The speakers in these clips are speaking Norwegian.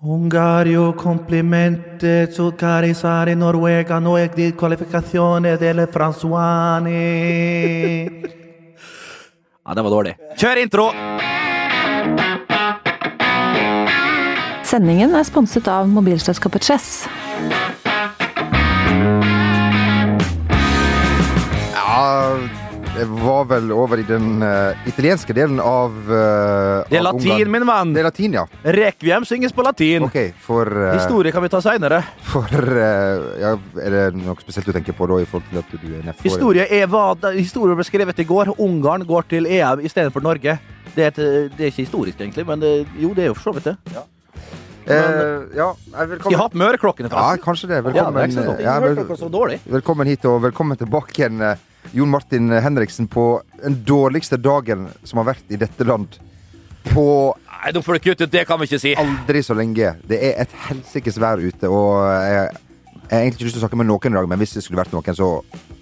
Hungario complimente su carisare Noruega no es di qualificazione delle Fransuani. ja, det var dårlig. Kjør intro! Sendingen er sponset av mobilselskapet Chess. Ja, det var vel over i den eh, italienske delen av eh, Det er av latin, Ungarn. min venn. Det er latin, ja. Rekviem synges på latin. Ok, for, eh, Historie kan vi ta seinere. for eh, ja, Er det noe spesielt du tenker på da, i forhold til at du er nedfor? Historie, er hva- da- historie ble skrevet i går. Ungarn går til EM istedenfor Norge. Det er, et, det er ikke historisk, egentlig, men det, jo, det er jo for så vidt det. Eh, ja, Skal jeg nei, ha velkommen. på meg øreklokkene, Ja, forresten? kanskje det. Ja, det er Velkommen, eh, ikke så dumt. ja, Ingen vel, hørte dere så dårlig. velkommen hit, og velkommen tilbake igjen, eh, Jon Martin Henriksen, på den dårligste dagen som har vært i dette land på Nei, nå får du kutte ut, det kan vi ikke si. aldri så lenge. Det er et helsikes vær ute, og jeg, jeg har egentlig ikke lyst til å snakke med noen i dag, men hvis det skulle vært noen, så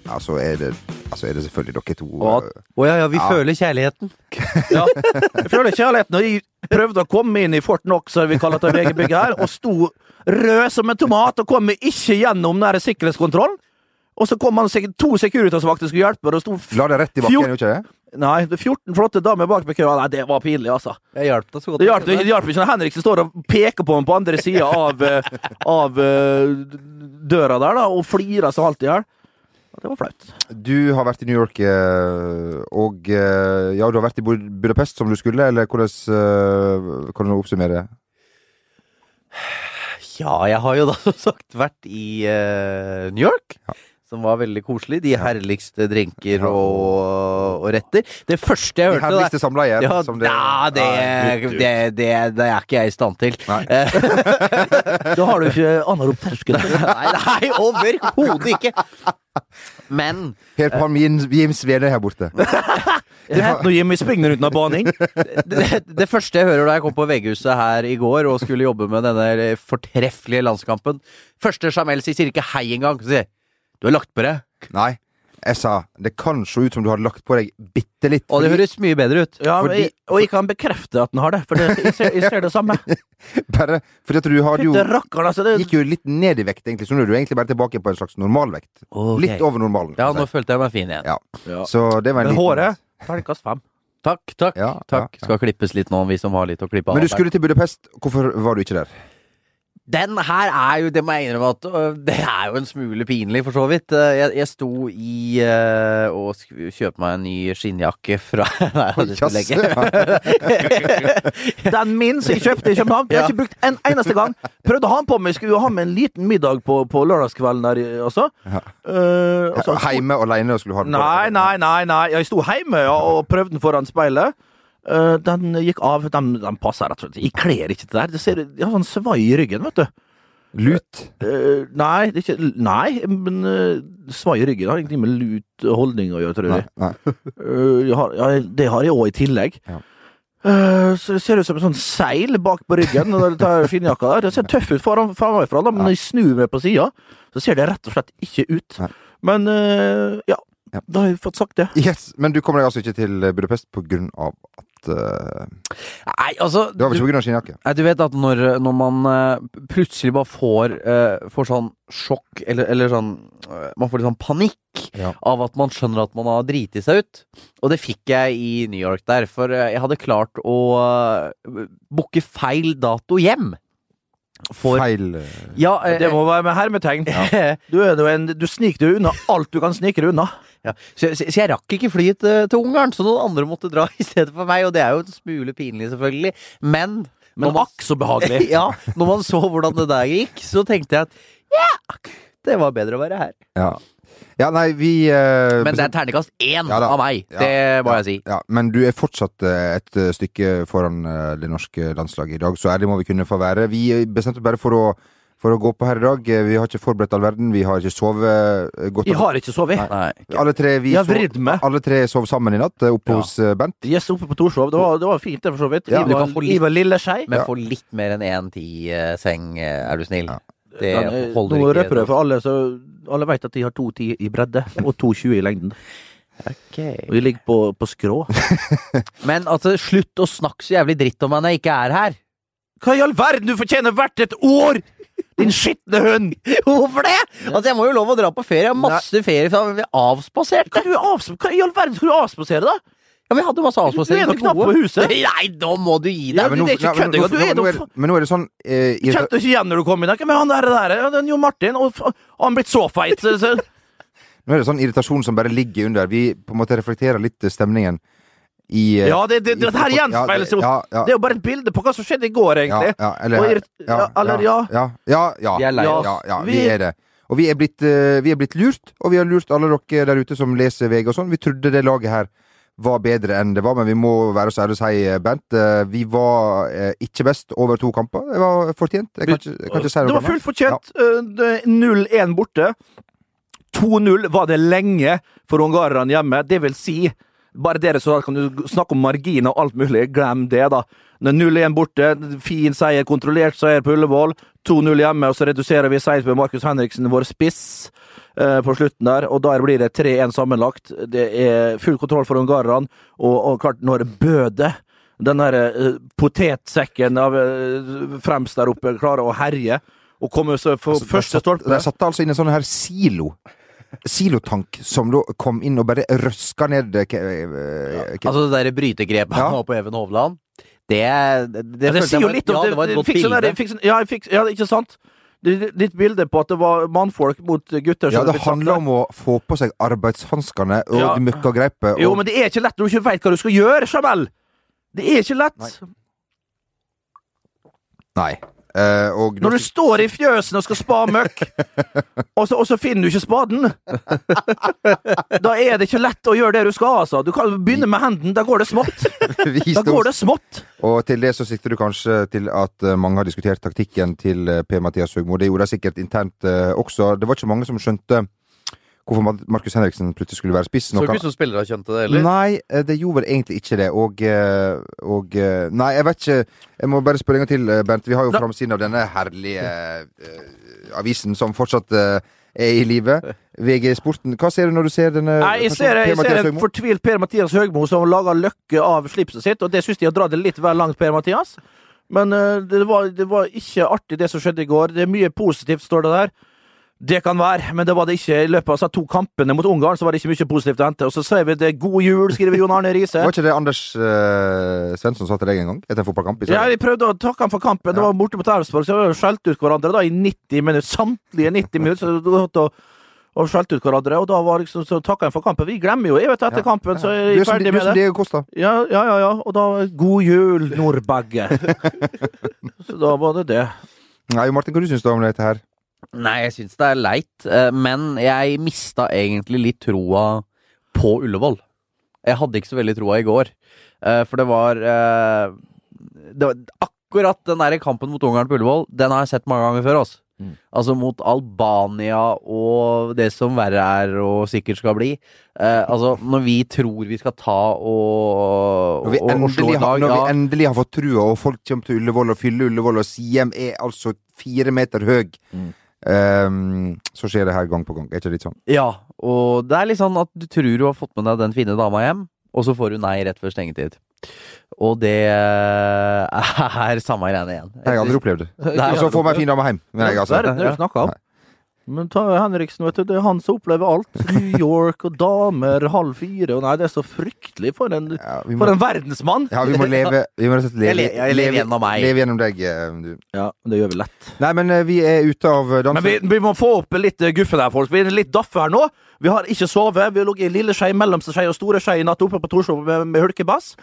ja, så er, det, ja, så er det selvfølgelig dere to. Og at- Å ja, ja, vi Ja. føler kjærligheten. Ja. Jeg føler kjærligheten. Og jeg prøvde å komme inn i Fort Knox, som vi kaller det VG-bygget her, og sto rød som en tomat og kom ikke gjennom den der sikkerhetskontrollen. Og så kom han sikkert to Securitas-vakter skulle hjelpe, og det sto f La det rett i bakken, Fjort- gjør ikke det? Nei, det er 14 flotte damer bak meg i køa. Nei, det var pinlig, altså. Jeg hjalp deg så godt. Det hjalp det hjalp ikke når Henriksen står og peker på ham på andre sida av, eh, av eh, døra der, da, og flirer seg alltid her. Ja, Det var flaut. Du har vært i New York, eh, og eh, ja, du har vært i Bud- Budapest som du skulle, eller hvordan eh, kan du oppsummere? Ja, jeg har jo da som sagt vært i eh, New York. Som var veldig koselig. De herligste drinker Ja. og, og retter. Det første jeg De hørte der herligste samleie? ja, som det, ja, det, Nei, det, det, det er ikke jeg i stand til. Nei. Eh, Da har du ikke anarop terskel. nei, nei overhodet ikke! Men Helt på han Jim- Jim Svele her borte. Hent nå Jimmy Springner uten av baning. det, det første jeg hører da jeg kom på VG-huset her i går og skulle jobbe med denne fortreffelige landskampen Første Jamel sier ikke hei engang. Så sier jeg, du har lagt på deg. Nei, jeg sa det kan se ut som du har lagt på deg bitte litt. Og det fordi- høres mye bedre ut. Ja, men fordi, jeg, og jeg kan bekrefte at den har det, for det, jeg, ser, jeg ser det samme. Bare fordi at du har jo Fytte rakkeren, altså. Det, gikk jo litt ned i vekt, egentlig, så nå er du egentlig bare tilbake på en slags normalvekt. Ok. Litt over normalen. ja, kan nå jeg si. følte jeg meg fin igjen. Ja. Så det var en men liten- håret Terningkast fem. Takk, takk. Ja, takk. ja, ja. Skal klippes litt nå, vi som har litt å klippe av. Men du der. skulle til Budapest. Hvorfor var du ikke der? Den her er jo, det må jeg innrømme at øh, det er jo en smule pinlig, for så vidt. Eh, Jeg, jeg sto i øh, og skulle kjøpe meg en ny skinnjakke fra Nei, Oi, det skulle jeg ikke. jass. Den min som jeg kjøpte i København, jeg har ikke brukt en eneste gang. Prøvde å ha den på meg, skulle jo ha med en liten middag på, på lørdagskvelden der, altså. Eh, og så- Heime Altså, alene og skulle ha den på Nei, deg. nei, nei, nei. Jeg sto hjemme ja, og prøvde den foran speilet. Eh, den gikk av. Den, den passer rett og slett. Jeg kler ikke til det der. Det ser, jeg har sånn svai i ryggen, vet du. Lut. Eh, nei, det er ikke, nei, men eh, svai i ryggen har ingenting med lut holdning å gjøre, tror Nei, jeg. nei. Eh, jeg har, ja, det har jeg òg i tillegg. Ja. Eh, så det ser ut som en sånn seil bak på ryggen når du tar skinnjakka der. Det ser tøff ut foran framifra, men når jeg snur meg på sida, så ser det rett og slett ikke ut. Nei. Men eh, ja, Ja. da har jeg fått sagt det. Yes, men du kommer deg altså ikke til Budapest på grunn av at eh, Nei, altså Det var vel ikke på grunn av skinnjakke? Nei, du vet at når, når man eh, plutselig bare får, eh, får sånn sjokk, eller, eller sånn eh, Man får litt sånn panikk Ja. av at man skjønner at man har driti seg ut. Og det fikk jeg i New York der, for eh, jeg hadde klart å uh, booke feil dato hjem. For Feil eh, Ja, eh, Det må være med hermetegn. Du, er jo en, du sniker deg unna alt du kan snike deg unna. ja. Så, så, så jeg rakk ikke flyet til, til Ungarn, så noen andre måtte dra i stedet for meg, og det er jo en smule pinlig, selvfølgelig, men når Men man- akk så behagelig. ja, når man så hvordan det der gikk, så tenkte jeg at ja, det var bedre å være her. Ja. ja, nei, vi eh, Men det er terningkast én Ja da. av meg, Ja. det må jeg si. Ja, men du er fortsatt eh, et eh, stykke foran eh, det norske landslaget i dag, så ærlig må vi kunne få være. Vi eh, bestemte bare for å, for å gå på her i dag. Eh, Vi har ikke forberedt all verden, vi har ikke sovet eh, godt. Jeg har ikke sovet. Nei. alle tre, vi Jeg har sov- vridd meg. alle tre sov sammen i natt eh, oppe Ja. hos eh, Bent. Jeg sto oppe på Torshov. Det var, det var fint, det, for så vidt. Ja, Jeg du var, kan få litt- jeg var lille skei. Men Ja. få litt mer enn én ti eh, seng, eh, er du snill. Det Den, eh, holder Nå ikke. røper jeg for alle, så alle vet at de har 2,10 i bredde og 2,20 i lengden. Ok. Og de ligger på, på skrå. Men altså, slutt å snakke så jævlig dritt om meg når jeg ikke er her. Hva i all verden? Du fortjener hvert et år! Din skitne høn! Hvorfor det?! Altså, jeg må jo lov å dra på ferie. Jeg har masse ferie. for Jeg er avspasert. Hva, du er avs- hva i all verden skal du avspasere, da? Ja, men jeg hadde masse avspasering. Du er på jo knapt på gode. huset. Nei, nå må du gi Ja, deg. men det er ikke kødd engang. Du er nå, noe er, men nå er det sånn eh, Jeg irri- Kjente ikke igjen når du kom inn. Men han der, der ja, den Jo Martin, og fa- han blitt så feit. Så, så. Nå er det sånn irritasjon som bare ligger under. Vi på en måte reflekterer litt eh, stemningen i eh, Ja, det, det, det, her gjenspeiles jo. Ja, ja, Det er jo bare et bilde på hva som skjedde i går, ja, egentlig. ja, eller, Og irrit- ja, eller ja. Ja, ja, ja, Vi er lei ja, oss. ja, ja, vi Vi- er det. Og vi er, blitt, eh, vi er blitt lurt, og vi har lurt alle dere der ute som leser VG og sånn. Vi trodde det laget her var bedre enn det var, men vi må være så ærlige og si, eh, Bent, eh, vi var eh, ikke best over to kamper. Det var fortjent. Jeg kan ikke, jeg kan ikke si noe Det var annet. fullt fortjent. Eh, det- 0-1 borte. 2-0 var det lenge for ungarerne hjemme. Det vil si bare dere så kan du snakke om marginer og alt mulig. Glem det, da. Når 0-1 borte, fin seier, kontrollert seier på Ullevål. 2-0 hjemme, og så reduserer vi seier med Markus Henriksen, vår spiss, eh, på slutten der. Og der blir det 3-1 sammenlagt. Det er full kontroll for ungarerne. Og, og klart, når Bøde den der eh, potetsekken av eh, fremst der oppe klarer å herje og komme så for Altså, første der satt- stolpe. Der satt det altså inn en sånn her silo. Silotank som da kom inn og bare røska ned eh, ke- eh, ke- Altså det der brytegrepet han Ja. var på Even Hovland, det Det, Ja, det følte sier jeg jo var- litt om Ja, det var et godt fikk sånn der- bilde. fikk sånn- ja, jeg fikk, ja, ikke sant? Det- det- Ditt bilde på at det var mannfolk mot gutter. ja, det handler om å få på seg arbeidshanskene og Ja. ja. møkkagrepet. Jo, Og, men det er ikke lett når du ikke veit hva du skal gjøre, Jamel! Det er ikke lett. Nei. nei. Eh, og Når du står i fjøsen og skal spa møkk, og, så, og så finner du ikke spaden Da er det ikke lett å gjøre det du skal, altså. Du kan begynne med hendene, da går det smått. Da går det smått. Og til det så sikter du kanskje til at eh, mange har diskutert taktikken til eh, Per Mathias Høgmo. Det gjorde de sikkert internt eh, også. Det var ikke mange som skjønte hvorfor Mar- Markus Henriksen plutselig skulle være spiss. Så Noe- ikke ut som spillere skjønte det heller. Nei, eh, det gjorde vel egentlig ikke det. Og, eh, og eh, Nei, jeg vet ikke. Jeg må bare spørre en gang til, eh, Bernt. Vi har jo Nei. framsiden av denne herlige eh, avisen som fortsatt eh, er i live. VG Sporten. Hva ser du når du ser denne? Nei, jeg kanskje ser, jeg Per-Mathias ser en Høgmo? fortvilt Per-Mathias Høgmo som lager løkke av slipset sitt, og det syns de har dratt det litt vel langt, Per-Mathias. Men eh, det, var, det var ikke artig, det som skjedde i går. Det er mye positivt, står det der. Det kan være, men det var det ikke i løpet av disse to kampene mot Ungarn. så var det ikke mye positivt å hente. Og så sier vi det god jul, skriver Jon Arne Riise. Var ikke det Anders eh, Svensson sa til deg en gang etter en fotballkamp? i Ja, Sverige? vi prøvde å takke han for kampen. Det Ja. var borte mot Elfsborg, så vi skjelte ut hverandre da i 90 minutter. Samtlige 90 minutter. Så vi gått og, og skjelte ut hverandre, og da var liksom, så takka han for kampen. Vi glemmer jo, jeg vet etter Ja. kampen, så Du er er jeg som, ferdig du er med som det. Diego Costa. Ja, ja, ja, ja. Og da God jul, Nordbagge. så da var det det. Nei, Martin, hva du syns du om dette her? Nei, jeg syns det er leit, eh, men jeg mista egentlig litt troa på Ullevål. Jeg hadde ikke så veldig troa i går, eh, for det var eh, Det var akkurat den der kampen mot Ungarn på Ullevål, den har jeg sett mange ganger før, altså. Mm. Altså mot Albania og det som verre er og sikkert skal bli. Eh, altså, når vi tror vi skal ta og, Når vi og, og slå endelig, et har, lag når ja. vi endelig har fått trua, og folk kommer til Ullevål og fyller Ullevål, og Siem er altså fire meter høy, ehm, så skjer det her gang på gang. Er ikke det litt sånn? Ja, og det er litt sånn at du tror du har fått med deg den fine dama hjem, og så får du nei rett før stengetid. Og det eh, er samme greiene igjen. Jeg har aldri opplevd det. Nei, Og så får meg en fin dame hjem. Nei, altså. Verden er jo snakka om. Men ta Henriksen, vet du. Det er han som opplever alt. New York og damer halv fire og Nei, det er så fryktelig for en, Ja, vi for må, en verdensmann! ja, vi må leve Vi må rett og slett Jeg leve, le- jeg lever leve- gjennom meg. Leve gjennom deg, eh, du. Ja, det gjør vi lett. Nei, men eh, vi er ute av eh, Men vi, dansen. vi må få opp litt eh, guffe der, folk. Vi er litt daffe her nå. Vi har ikke sovet. Vi har ligget i lille skei, mellomste skei og store skei i natt oppe på Torshov med, med hulkebass.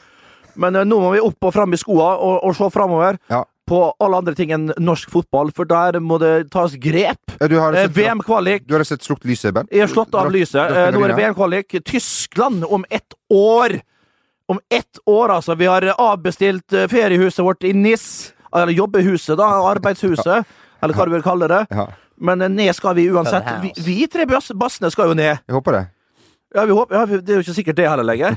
Men eh, nå må vi opp og fram i skoa og, og se framover Ja. på alle andre ting enn norsk fotball, for der må det tas grep. Eh, Du har Eh, sett, du VM-kvalik. har sett slukt lyset, Bernt? Jeg har slått av Drakk- lyset. drakk Eh, en Nå er det gardina. VM-kvalik. Tyskland om ett år! Om ett år, altså. Vi har avbestilt eh, feriehuset vårt i NIS. Eller jobbehuset, da. Arbeidshuset. Eller hva du vil kalle det. Ja, Men eh, ned skal vi uansett. Clubhouse. Vi, vi tre bass, bassene skal jo ned. jeg håper det. Ja, vi håper, ja, vi, Det er jo ikke sikkert det heller lenger.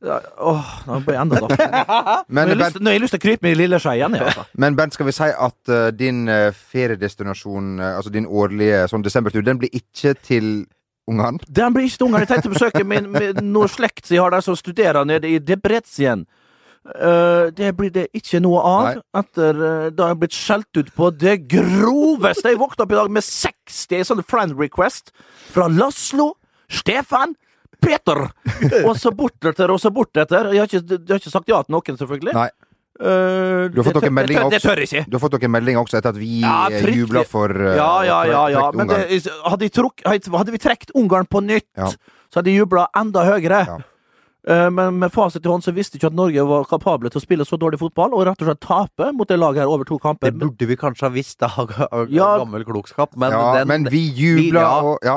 Ja, Åh, nå ble jeg enda daff. Nå har Men jeg lyst- Bernt, nå har jeg lyst til å krype meg i lille skje igjen. jeg, Altså. men Bernt, skal vi si at eh, din eh, feriedestinasjon, eh, altså din årlige sånn desembertur, den blir ikke til Ungarn? Den blir ikke til ungene. Jeg tenkte å besøke min, min, noen slekt som jeg har der som studerer nede i Debrecen. Eh, det blir det ikke noe av etter eh, da jeg er blitt skjelt ut på det groveste. Jeg våkna opp i dag med 60 sånne friend request fra Laslo, Stefan, Peter! Og så bortetter og så bortetter. Jeg har ikke, jeg har ikke sagt ja til noen, selvfølgelig. Nei. Eh, Du har det fått tør- noen meldinger det tør- Det tør jeg ikke. Du har fått noen meldinger også etter at vi Ja, eh, fryktelig. jubla for eh, Ja, ja, ja. ja. trekt Men det, Ungarn. hadde, jeg trukk- hadde vi trukket Ungarn på nytt, Ja. så hadde jeg jubla enda høyere. Ja. Eh, Men med fasit i hånd så visste jeg ikke at Norge var kapable til å spille så dårlig fotball, og rett og slett tape mot det laget her over to kamper. Det burde vi kanskje ha visst av, av Ja. gammel klokskap, men ja, den men vi jubla ja. og ja.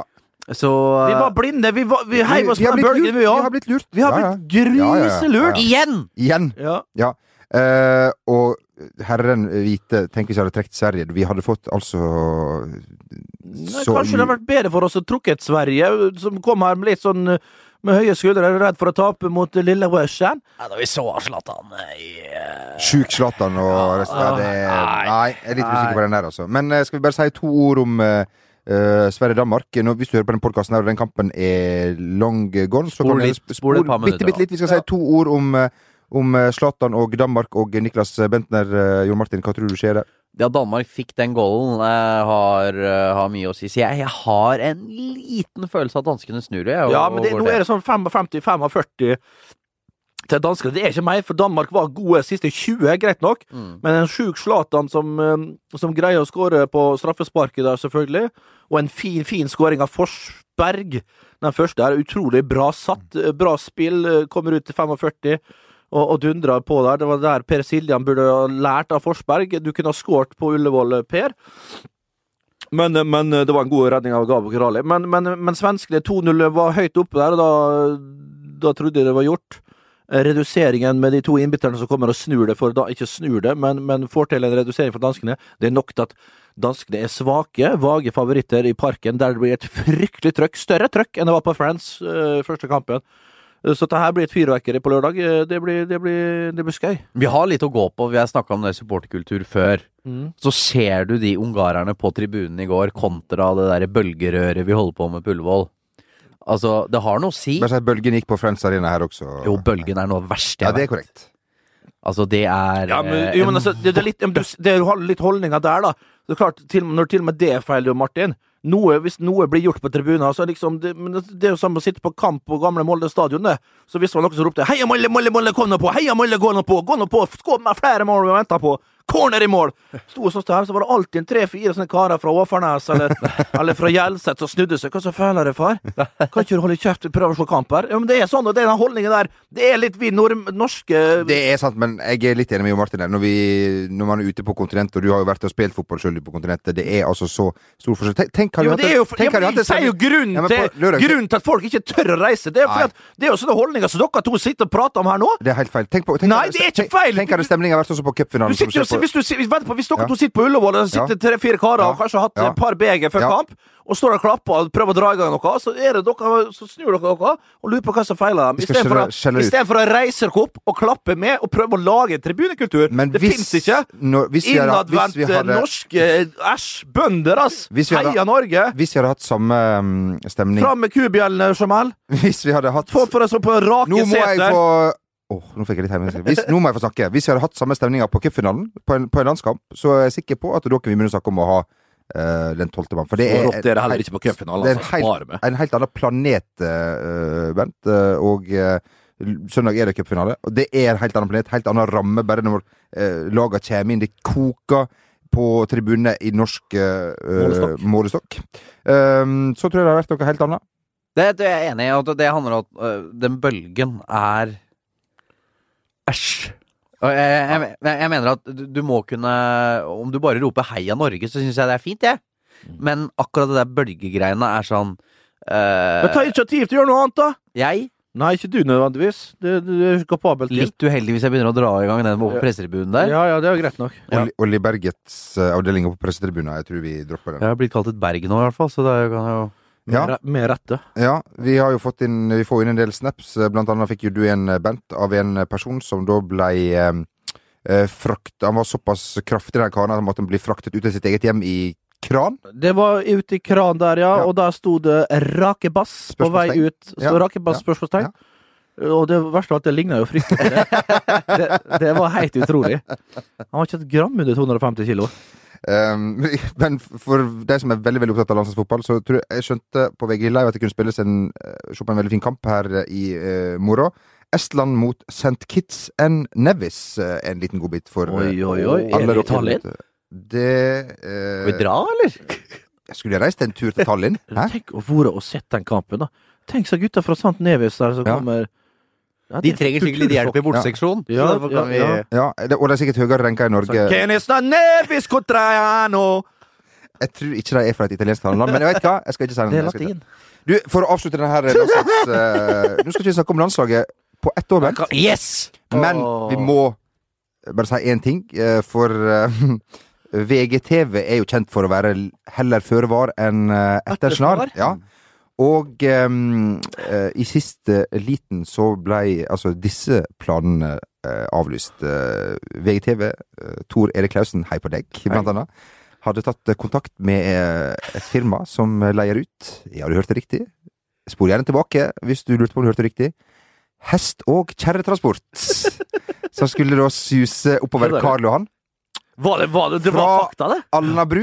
Så eh, Vi var blinde! Vi, var, vi heiv oss vi på har en blitt bølge, lurt, vi Vi har òg. blitt lurt. Vi har Ja, ja. blitt griselurt! Ja, Igjen! Igjen. Ja. Eh, og herren vite, tenk hvis jeg hadde trukket Sverige. Vi hadde fått altså Nei, så- Kanskje det hadde vært bedre for oss å trukket Sverige, eh, som kom her med litt sånn eh, med høye skuldre, redd for å tape mot eh, lille Russian. Ja, da vi så Zlatan i eh, Sjuk Zlatan og resten ja, det, Ah, Nei. Nei, jeg er litt usikker på den der, altså. Men eh, skal vi bare si to ord om eh, eh, Sverige-Danmark? Nå, Hvis du hører på den podkasten her og den kampen er long gone, så Spol kan vi litt, spol et par minutter, bitte, bitte litt. Vi skal si to ord om eh, om eh, Zlatan og Danmark og Niklas Bentner. eh, Jon Martin, hva tror du skjer der? Ja, Danmark fikk den goalen, eh, har, eh, har mye å si. Så jeg, jeg har en liten følelse av at danskene snur. Jeg, Ja, men det, nå er det sånn 55-45 til danskene. Det er ikke meg, for Danmark var gode siste 20, greit nok. Mm. Men en sjuk Zlatan som, eh, som greier å skåre på straffesparket der, selvfølgelig. Og en fin, fin skåring av Forsberg. Den første er utrolig bra satt. eh, Bra spill. eh, Kommer ut til 45 og, og dundrer på der. Det var der Per Siljan burde ha lært av Forsberg. Du kunne ha skåret på Ullevål, Per. Men, eh, men det var en god redning av Gabo Kirali. Men, men, men svenskene 2-0 var høyt oppe der, og da, da trodde jeg det var gjort. Eh, Reduseringen med de to innbytterne som kommer og snur det, for da, ikke snur det, men, men får til en redusering for danskene, det er nok til at danskene er svake, vage favoritter i parken, der det blir et fryktelig trøkk, større trøkk enn det var på France eh, første kampen. Så dette her blir et fyrverkeri på lørdag. Eh, Det blir, det blir, det blir skøy. Vi har litt å gå på. Vi har snakka om det supporterkultur før. Mm. Så ser du de ungarerne på tribunen i går kontra det derre bølgerøret vi holder på med på Ullevål. Altså, det har noe å si. Bare si at Bølgen gikk på Friends Arena her også. Jo, bølgen er noe av det verste ja, jeg det er vet. korrekt. Altså, det er Ja, men, eh, jo, men altså, det, det er litt, ja, men du, det er jo litt holdninger der, da. Det er klart, til, når til og med det er feil, jo, Martin. Noe, hvis noe blir gjort på tribunen så er liksom, det, men det det er jo samme å sitte på kamp på gamle Molde stadion. det. Så hvis det var noen som ropte 'Heia Molde, Molde, Molde, kom nå på! Heia Molde, gå nå på! Gå nå på! Skål med flere mål vi venter på! Corner i mål!' Sto og så her, så var det alltid en tre-fire sånne karer fra Åfarnes eller, eller fra Hjelset som snudde seg. 'Hva så føler du, far? Kan ikke du holde kjeft? Vi prøver å se kamp her.' Ja, men det er sånn, og det er den holdningen der. Det er litt vi nord norske Det er sant, men jeg er litt enig med Jo Martin. der. Når, vi, når man er ute på kontinentet, og du har jo vært og spilt fotball sjøl på kontinentet, det er altså så stor forskjell. Tenk, tenk hadde Jo, du men det hatt er jo, en- tenk ja, men hadde jeg du hatt en sier jo grunnen, Ja, men på til, lørdag- grunnen til at folk ikke tør å reise. Det er, jo Nei. fordi at, det er jo sånne holdninger som dere to sitter og prater om her nå. Det er helt feil. Tenk på, tenk Nei, hadde- det er ikke tenk- feil! Tenk hadde stemninga vært også på Du cupfinalen. som sitter, jo- skjer på- hvis, du, si- vent på, hvis dere Ja. to sitter på Ullevål og sitter tre-fire karer og Ja. kanskje har hatt Ja. et par beger før Ja. kamp, og står og klapper og prøver å dra i gang noe, så, er det dere, så snur dere dere og lurer på hva som feiler dem. Vi skal Istedenfor å, skjelle- skjelle ut. i stedet for å reise dere opp og klappe med og prøve å lage en tribunekultur. Men det hvis- fins ikke. når- hvis vi hadde- hvis vi Innadvendte hadde- norske eh, Æsj, bønder, ass! Hvis vi hadde- Heia Norge! Hvis vi hadde hatt samme um, stemning Fram med kubjellene, Jamal. Hvis vi hadde hatt Få på deg så på rake Nå må jeg seter. få Åh, nå fikk jeg litt hjemme. Hvis, nå må jeg få snakke. Hvis vi hadde hatt samme stemninga på cupfinalen, på, en- på en landskamp, så er jeg sikker på at dere vil begynne å snakke om å ha eh, den tolvte mann. For det er rått er det heller ikke på cupfinalen, Det er en altså. helt- Spar meg. en helt annen planet, eh, Bent. eh, og eh, l- søndag er det cupfinale. Og det er en helt annen planet, helt annen ramme, bare når uh, laga kommer inn. Det koker på tribunene i norsk eh, Målestokk. målestokk. Um, så tror jeg det har vært noe helt annet. Det, det er jeg enig i. og Det, det handler om at øh, den bølgen er Æsj. Og Jeg, jeg, jeg, jeg mener at du, du må kunne Om du bare roper 'Heia Norge', så syns jeg det er fint, jeg. Mm. Men akkurat det der bølgegreiene er sånn øh, Men ta initiativ til å gjøre noe annet, da! Jeg, Nei, ikke du nødvendigvis. Det, det, det er ikke kapabel til. litt uheldig hvis jeg begynner å dra i gang den på Ja. pressetribunen der. Ja, ja, det er jo greit nok. Ja. Olli, Olli Bergets eh, avdeling på pressetribunen, jeg tror vi dropper den. Jeg har blitt kalt et berg nå, i hvert fall, så det er jo- kan jeg jo Ja. Med, re- med rette. Ja, vi har jo fått inn Vi får inn en del snaps. eh, Blant annet fikk jo du en, eh, Bent, av en person som da blei eh, eh, frakt Han var såpass kraftig, den karen, at han måtte bli fraktet ut av sitt eget hjem i kran. Det var ute i kran der, ja, Ja. og der sto det 'Rakebass' på vei Spørsmålstegn. ut. Så Ja. Rakebass, Ja. spørsmålstegn. Og det verste var at det ligna jo fryktelig på det. det. Det var helt utrolig. Han var ikke et gram under 250 kilo. Um, men for de som er veldig veldig opptatt av landslagsfotball, så tror jeg jeg skjønte på VG Live at det kunne spilles en, eh, se på en veldig fin kamp her eh, i eh, morgen. Estland mot St. Kitts and Nevis. eh, En liten godbit for eh, Oi, oi, oi. alle Er det i dere Tallinn? ute. Det eh, Skal vi dra, eller? Jeg skulle reist en tur til Tallinn. Hæ? Tenk å være og sett den kampen, da. Tenk så gutta fra Sant Nevis der som Ja. kommer Ja, De det- trenger sikkert litt hjelp i borteseksjonen. Ja, så derfor kan ja, ja. vi- Ja, det, og de er sikkert høyere renka i Norge. Che ne sta Nevis contraiano? Jeg tror ikke de er fra et italiensktalende land, men jeg vet hva. Jeg skal ikke si noe. Det er Jeg skal ikke- latin. Du, For å avslutte denne her landslags... eh, nå skal vi ikke snakke om landslaget på ett år, Bent. Yes! Men Åh. vi må bare si én ting, eh, for eh, VGTV er jo kjent for å være l- heller føre var enn eh, etter snar. Ja. Og em, eh, i siste liten så blei altså disse planene eh, avlyst. Eh, VGTV, eh, Tor Erik Klausen, hei på deg, blant annet, hadde tatt eh, kontakt med eh, et firma som leier ut. Ja, du hørte riktig. Spor gjerne tilbake hvis du lurte på om du hørte riktig. Hest- og kjerretransport. som skulle da suse oppover Kødder du? Karl Johan. Var det, var det, det Fra- var fakta, det? Alnabru.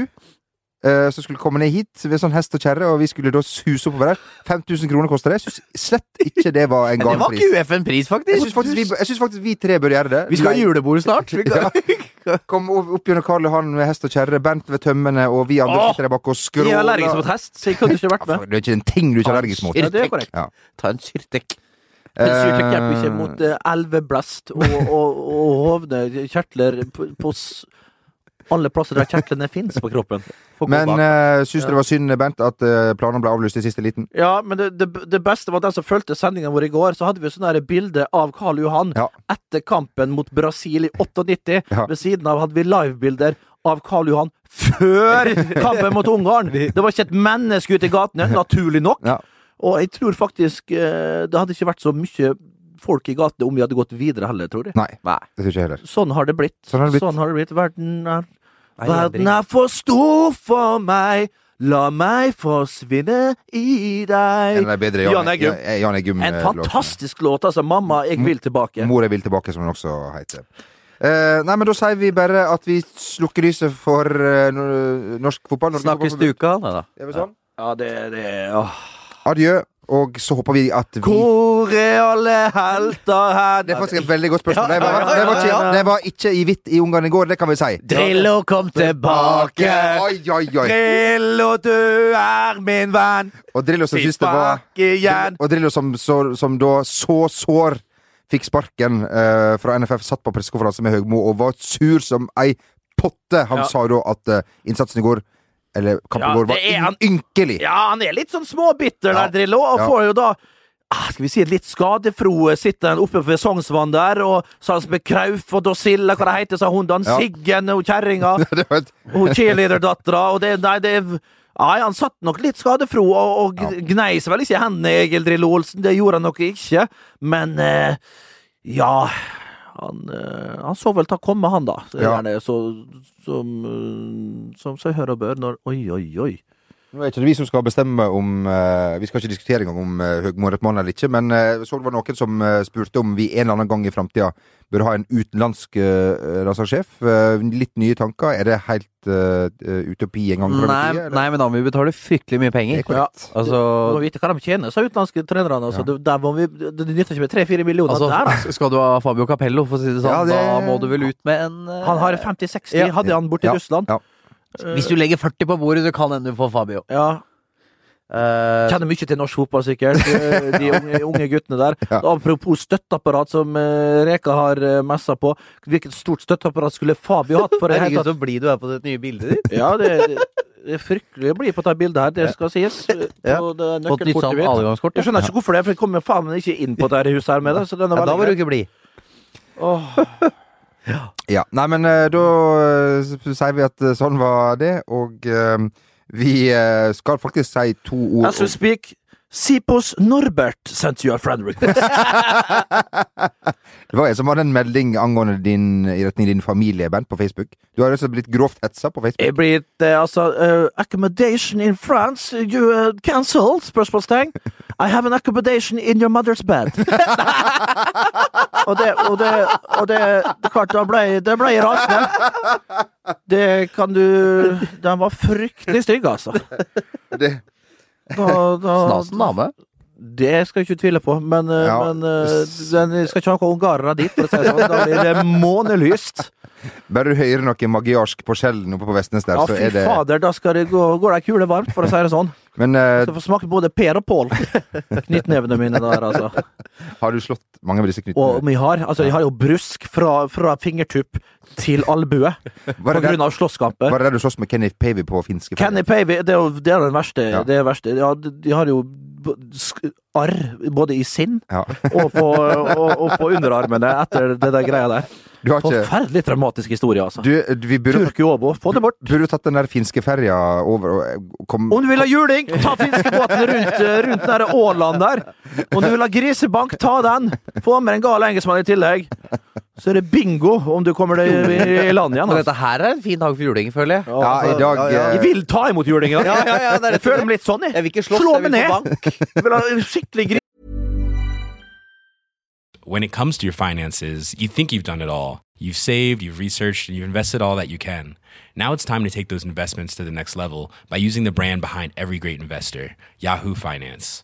eh, Som skulle komme ned hit ved sånn hest og kjerre, og vi skulle da suse oppover der. 5000 kroner koster det. Jeg syns slett ikke det var en Men det gal var pris. ikke UF en pris, faktisk. Jeg syns faktisk, vi- jeg synes faktisk vi tre bør gjøre det. Vi skal ha julebord snart. Vi kan... Kom opp opp gjennom Karl Johan med hest og kjerre, Bent ved tømmene, og vi andre Åh! sitter der bak og Jeg er allergisk skråler. mot hest, så jeg kunne ikke vært Ja, med. for Det er ikke en ting du ikke er allergisk mot. Ja, det er korrekt. Ta en syrtek. Men Surtek hjelper ikke mot eh, elveblest og, og, og hovne kjertler på, på s alle plasser der kjertlene fins på kroppen. For Men god bak. uh, syns du det var synd, Bent, at eh, planene ble avlyst i siste liten? ja, men det, det, det beste var at den som fulgte sendinga vår i går, så hadde vi sånn der bilde av Karl Johan Ja. etter kampen mot Brasil i 98. Ja. Ved siden av hadde vi livebilder av Karl Johan før kampen mot Ungarn! Det var ikke et menneske ute i gatene, naturlig nok. Ja. Og jeg tror faktisk eh, det hadde ikke vært så mye folk i gatene om vi hadde gått videre heller, tror jeg. Nei, Nei. det tror ikke jeg heller. Sånn har det blitt. Sånn har det blitt. Verden er, verden er for stor for meg. La meg forsvinne i En av deg. de bedre Jan Eggum. Ja, Jan Eggum. En eh, fantastisk låt, altså. Mamma, jeg vil tilbake. låten. Mor jeg vil tilbake, som den også heter. Eh, nei, men da sier vi bare at vi slukker lyset for eh, no- norsk fotball. Norge Snakkes fotball- til uka? Nei da. Er vi sånn? Ja, det, det åh. Adjø, og så håper vi at vi Hvor er alle helter hen? Det er faktisk et veldig godt spørsmål. Ja, Det ja, var, ja, det var, ja, ja. ikke, det var ikke i hvitt i Ungarn i går, det kan vi si. Drillo, kom tilbake! Oi, oi, oi. Drillo, du er min venn. Og Drillo som synes det var Tilbake igjen. Og Drillo som, så, som da så sår fikk sparken eh, fra NFF, satt på pressekonferanse med Høgmo og var sur som ei potte. Han Ja. sa da at eh, innsatsen i går, eller kampen Ja, i går, var det er han- ynkelig. Ja, han er litt sånn småbitter Ja. der, Drillo, og Ja. får jo da ah, skal vi si litt skadefroe sitter han oppe ved Sognsvann der, og Salsbø Krauf og Dosilla, hva det heter, sa hun da, Ja. Siggen og kjerringa, Det var et- og cheerleaderdattera, og det Nei, det er Nei, han satt nok litt skadefro og, og Ja. gnei seg vel ikke i hendene, Egil Drillo Olsen, det gjorde han nok ikke, men eh, ja han, eh, han så vel ta komme, han, da. Ja. Gjerne så, som, eh, som seg hør og bør når Oi, oi, oi. Nå er ikke det vi som skal bestemme om eh, Vi skal ikke diskutere engang om eh, Høgmo er et mann eller ikke, men uh, så det var noen som eh, spurte om vi en eller annen gang i framtida bør ha en utenlandsk uh, landslagssjef. Eh, litt nye tanker. Er det helt eh, eh, utopi en gang? for alle Nei, tider, eller? nei, men da må vi betale fryktelig mye penger. Det er korrekt. Altså, Du må vite hva de tjener, sa utenlandske trenere. Altså. Ja. Det, der må vi, det det nytter ikke med 3-4 millioner altså, der. Altså. skal du ha Fabio Capello, for å si det sånn, Ja, det- da må du vel ut med en eh, Han har 50-60, Ja. hadde han borte i Ja, Russland. ja. Eh, Hvis du legger 40 på bordet, så kan hende du får Fabio. ja, Eh, Kjenner mye til norsk fotball, sikkert. eh, De unge, unge guttene der. Ja. Apropos støtteapparat, som eh, Reka har eh, messa på. Hvilket stort støtteapparat skulle Fabio hatt? For det, hele Herregud, tatt? så blid du er på det nye bildet ditt. Ja, det, det, det er fryktelig å bli på dette bildet her, det skal sies. Ja. Og det er Fått nytt nøkkelkortet sånn mitt. adgangskort. Jeg skjønner ikke hvorfor det, for jeg kommer faen meg ikke inn på dette huset her med det. Så den er Ja, da veldig var du grei. ikke blid. Åh. Ja. Nei, men eh, da eh, s- sier vi at eh, sånn var det, og eh, vi eh, skal faktisk si to ord As we om- speak, Sipos Norbert sent you a friend request. Det var en som hadde en melding angående din, i retning din familie, Bent, på Facebook. Du har rett og slett blitt grovt hetsa på Facebook. It blir et, eh, altså, eh, accommodation in France, you uh, cancelled? eh, Spørsmålstegn. I have an accommodation in your mother's bed. og det, og det, og det, det er klart, da ble, det ble jeg rasende. Det kan du Den var fryktelig stygg, altså. Det, Da, da, Snasen dame. det skal jeg ikke tvile på, men, eh, Ja. men eh, den jeg skal ikke ha noen ungarere dit, for å si det sånn. Da blir det månelyst. bare du hører noe magiarsk på skjellen oppe på Vestnes der, Ja, så fy er det fader, da skal det gå, går det ei kule varmt, for å si det sånn. Men eh, Skal få smake både Per og Pål. Knyttnevene mine der, altså. har du slått mange av disse Og knyttene? vi har, altså, jeg har jo brusk fra, fra fingertupp til albue Var på det grunn der, av slåsskamper. var det der du sloss med Kenneth Pavey på finske Kenny Pavey, det er jo det er den verste. Ja. Det er verste. Ja, de de har jo b- sk- arr både i sinn Ja. og på, og, og på underarmene etter det der greia der. Du har ikke Forferdelig traumatisk historie, altså. du, vi burde, Turkuobo, få det bort. burde tatt den der finske ferja over og eh, kom Om du vil ha juling, ta fiskebåten rundt, eh, rundt den der Åland der. Om du vil ha grisebank, ta den. Få med en gal engelskmann i tillegg. Så er det bingo om du kommer deg i- i land igjen. Men Altså. dette her er en fin dag for juling, føler jeg. Ja, i dag eh, Jeg vil ta imot juling i dag. ja, ja, det er jeg rett og føler slett. meg litt sånn, jeg. Jeg vil ikke slåss, Slå jeg vil meg ned. få bank. jeg vil ha en skikkelig gris. When it comes to your finances, you think you've done it all. You've saved, you've researched, and you've invested all that you can. Now it's time to take those investments to the next level by using the brand behind every great investor, Yahoo Finance.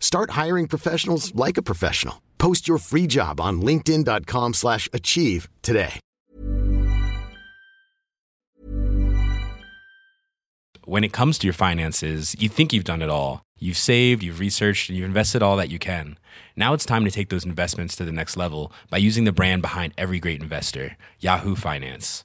Start hiring professionals like a professional. Post your free job on linkedin.com/achieve slash achieve today. When it comes to your finances, you think you've done it all. You've saved, you've researched, and you've invested all that you can. Now it's time to take those investments to the next level by using the brand behind every great investor, Yahoo Finance.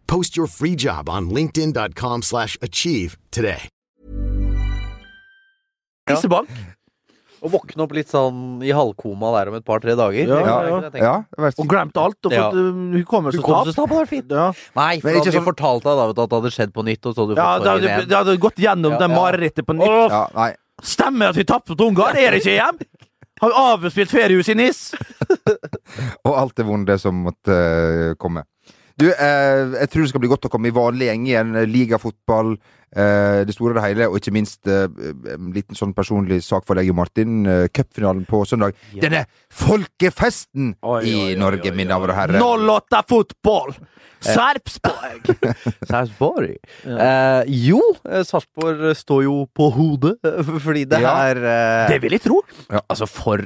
Post your free job on linkedin.com/achieve slash achieve today. Grisebank. Og våkne opp litt sånn i halvkoma der om et par-tre dager. Ja, Det Ja, er ja. ikke det jeg tenker. ja, det var- Og glemt alt. Og Ja. fått um, hukommelsestap. Hukommelsestap hadde vært fint. Ja. Nei, for Men ikke sånn- hadde du fortalt deg da, vet du, at det hadde skjedd på nytt, og så hadde Ja, du fått det sorgen hadde, igjen. det hadde gått gjennom Ja, det ja. marerittet på nytt. ja, nei. Stemmer at vi tapte mot Ungarn? Er det ikke hjem? Har vi avspilt feriehus i NIS? Og alt det vonde som måtte eh, komme. Du, eh, jeg tror det skal bli godt å komme i vanlig gjeng igjen. Ligafotball, eh, det store og det hele, og ikke minst eh, en liten sånn personlig sak for deg, Jo Martin. Eh, Cupfinalen på søndag. Denne folkefesten Oi, i oi, oi, Norge, oi, mine damer og herrer. Eh. 08 fotball! Sarpsborg! Sarpsborg. Eh, jo, eh, Sarpsborg står jo på hodet, eh, fordi det Ja. her eh, Det vil jeg tro. Altså, for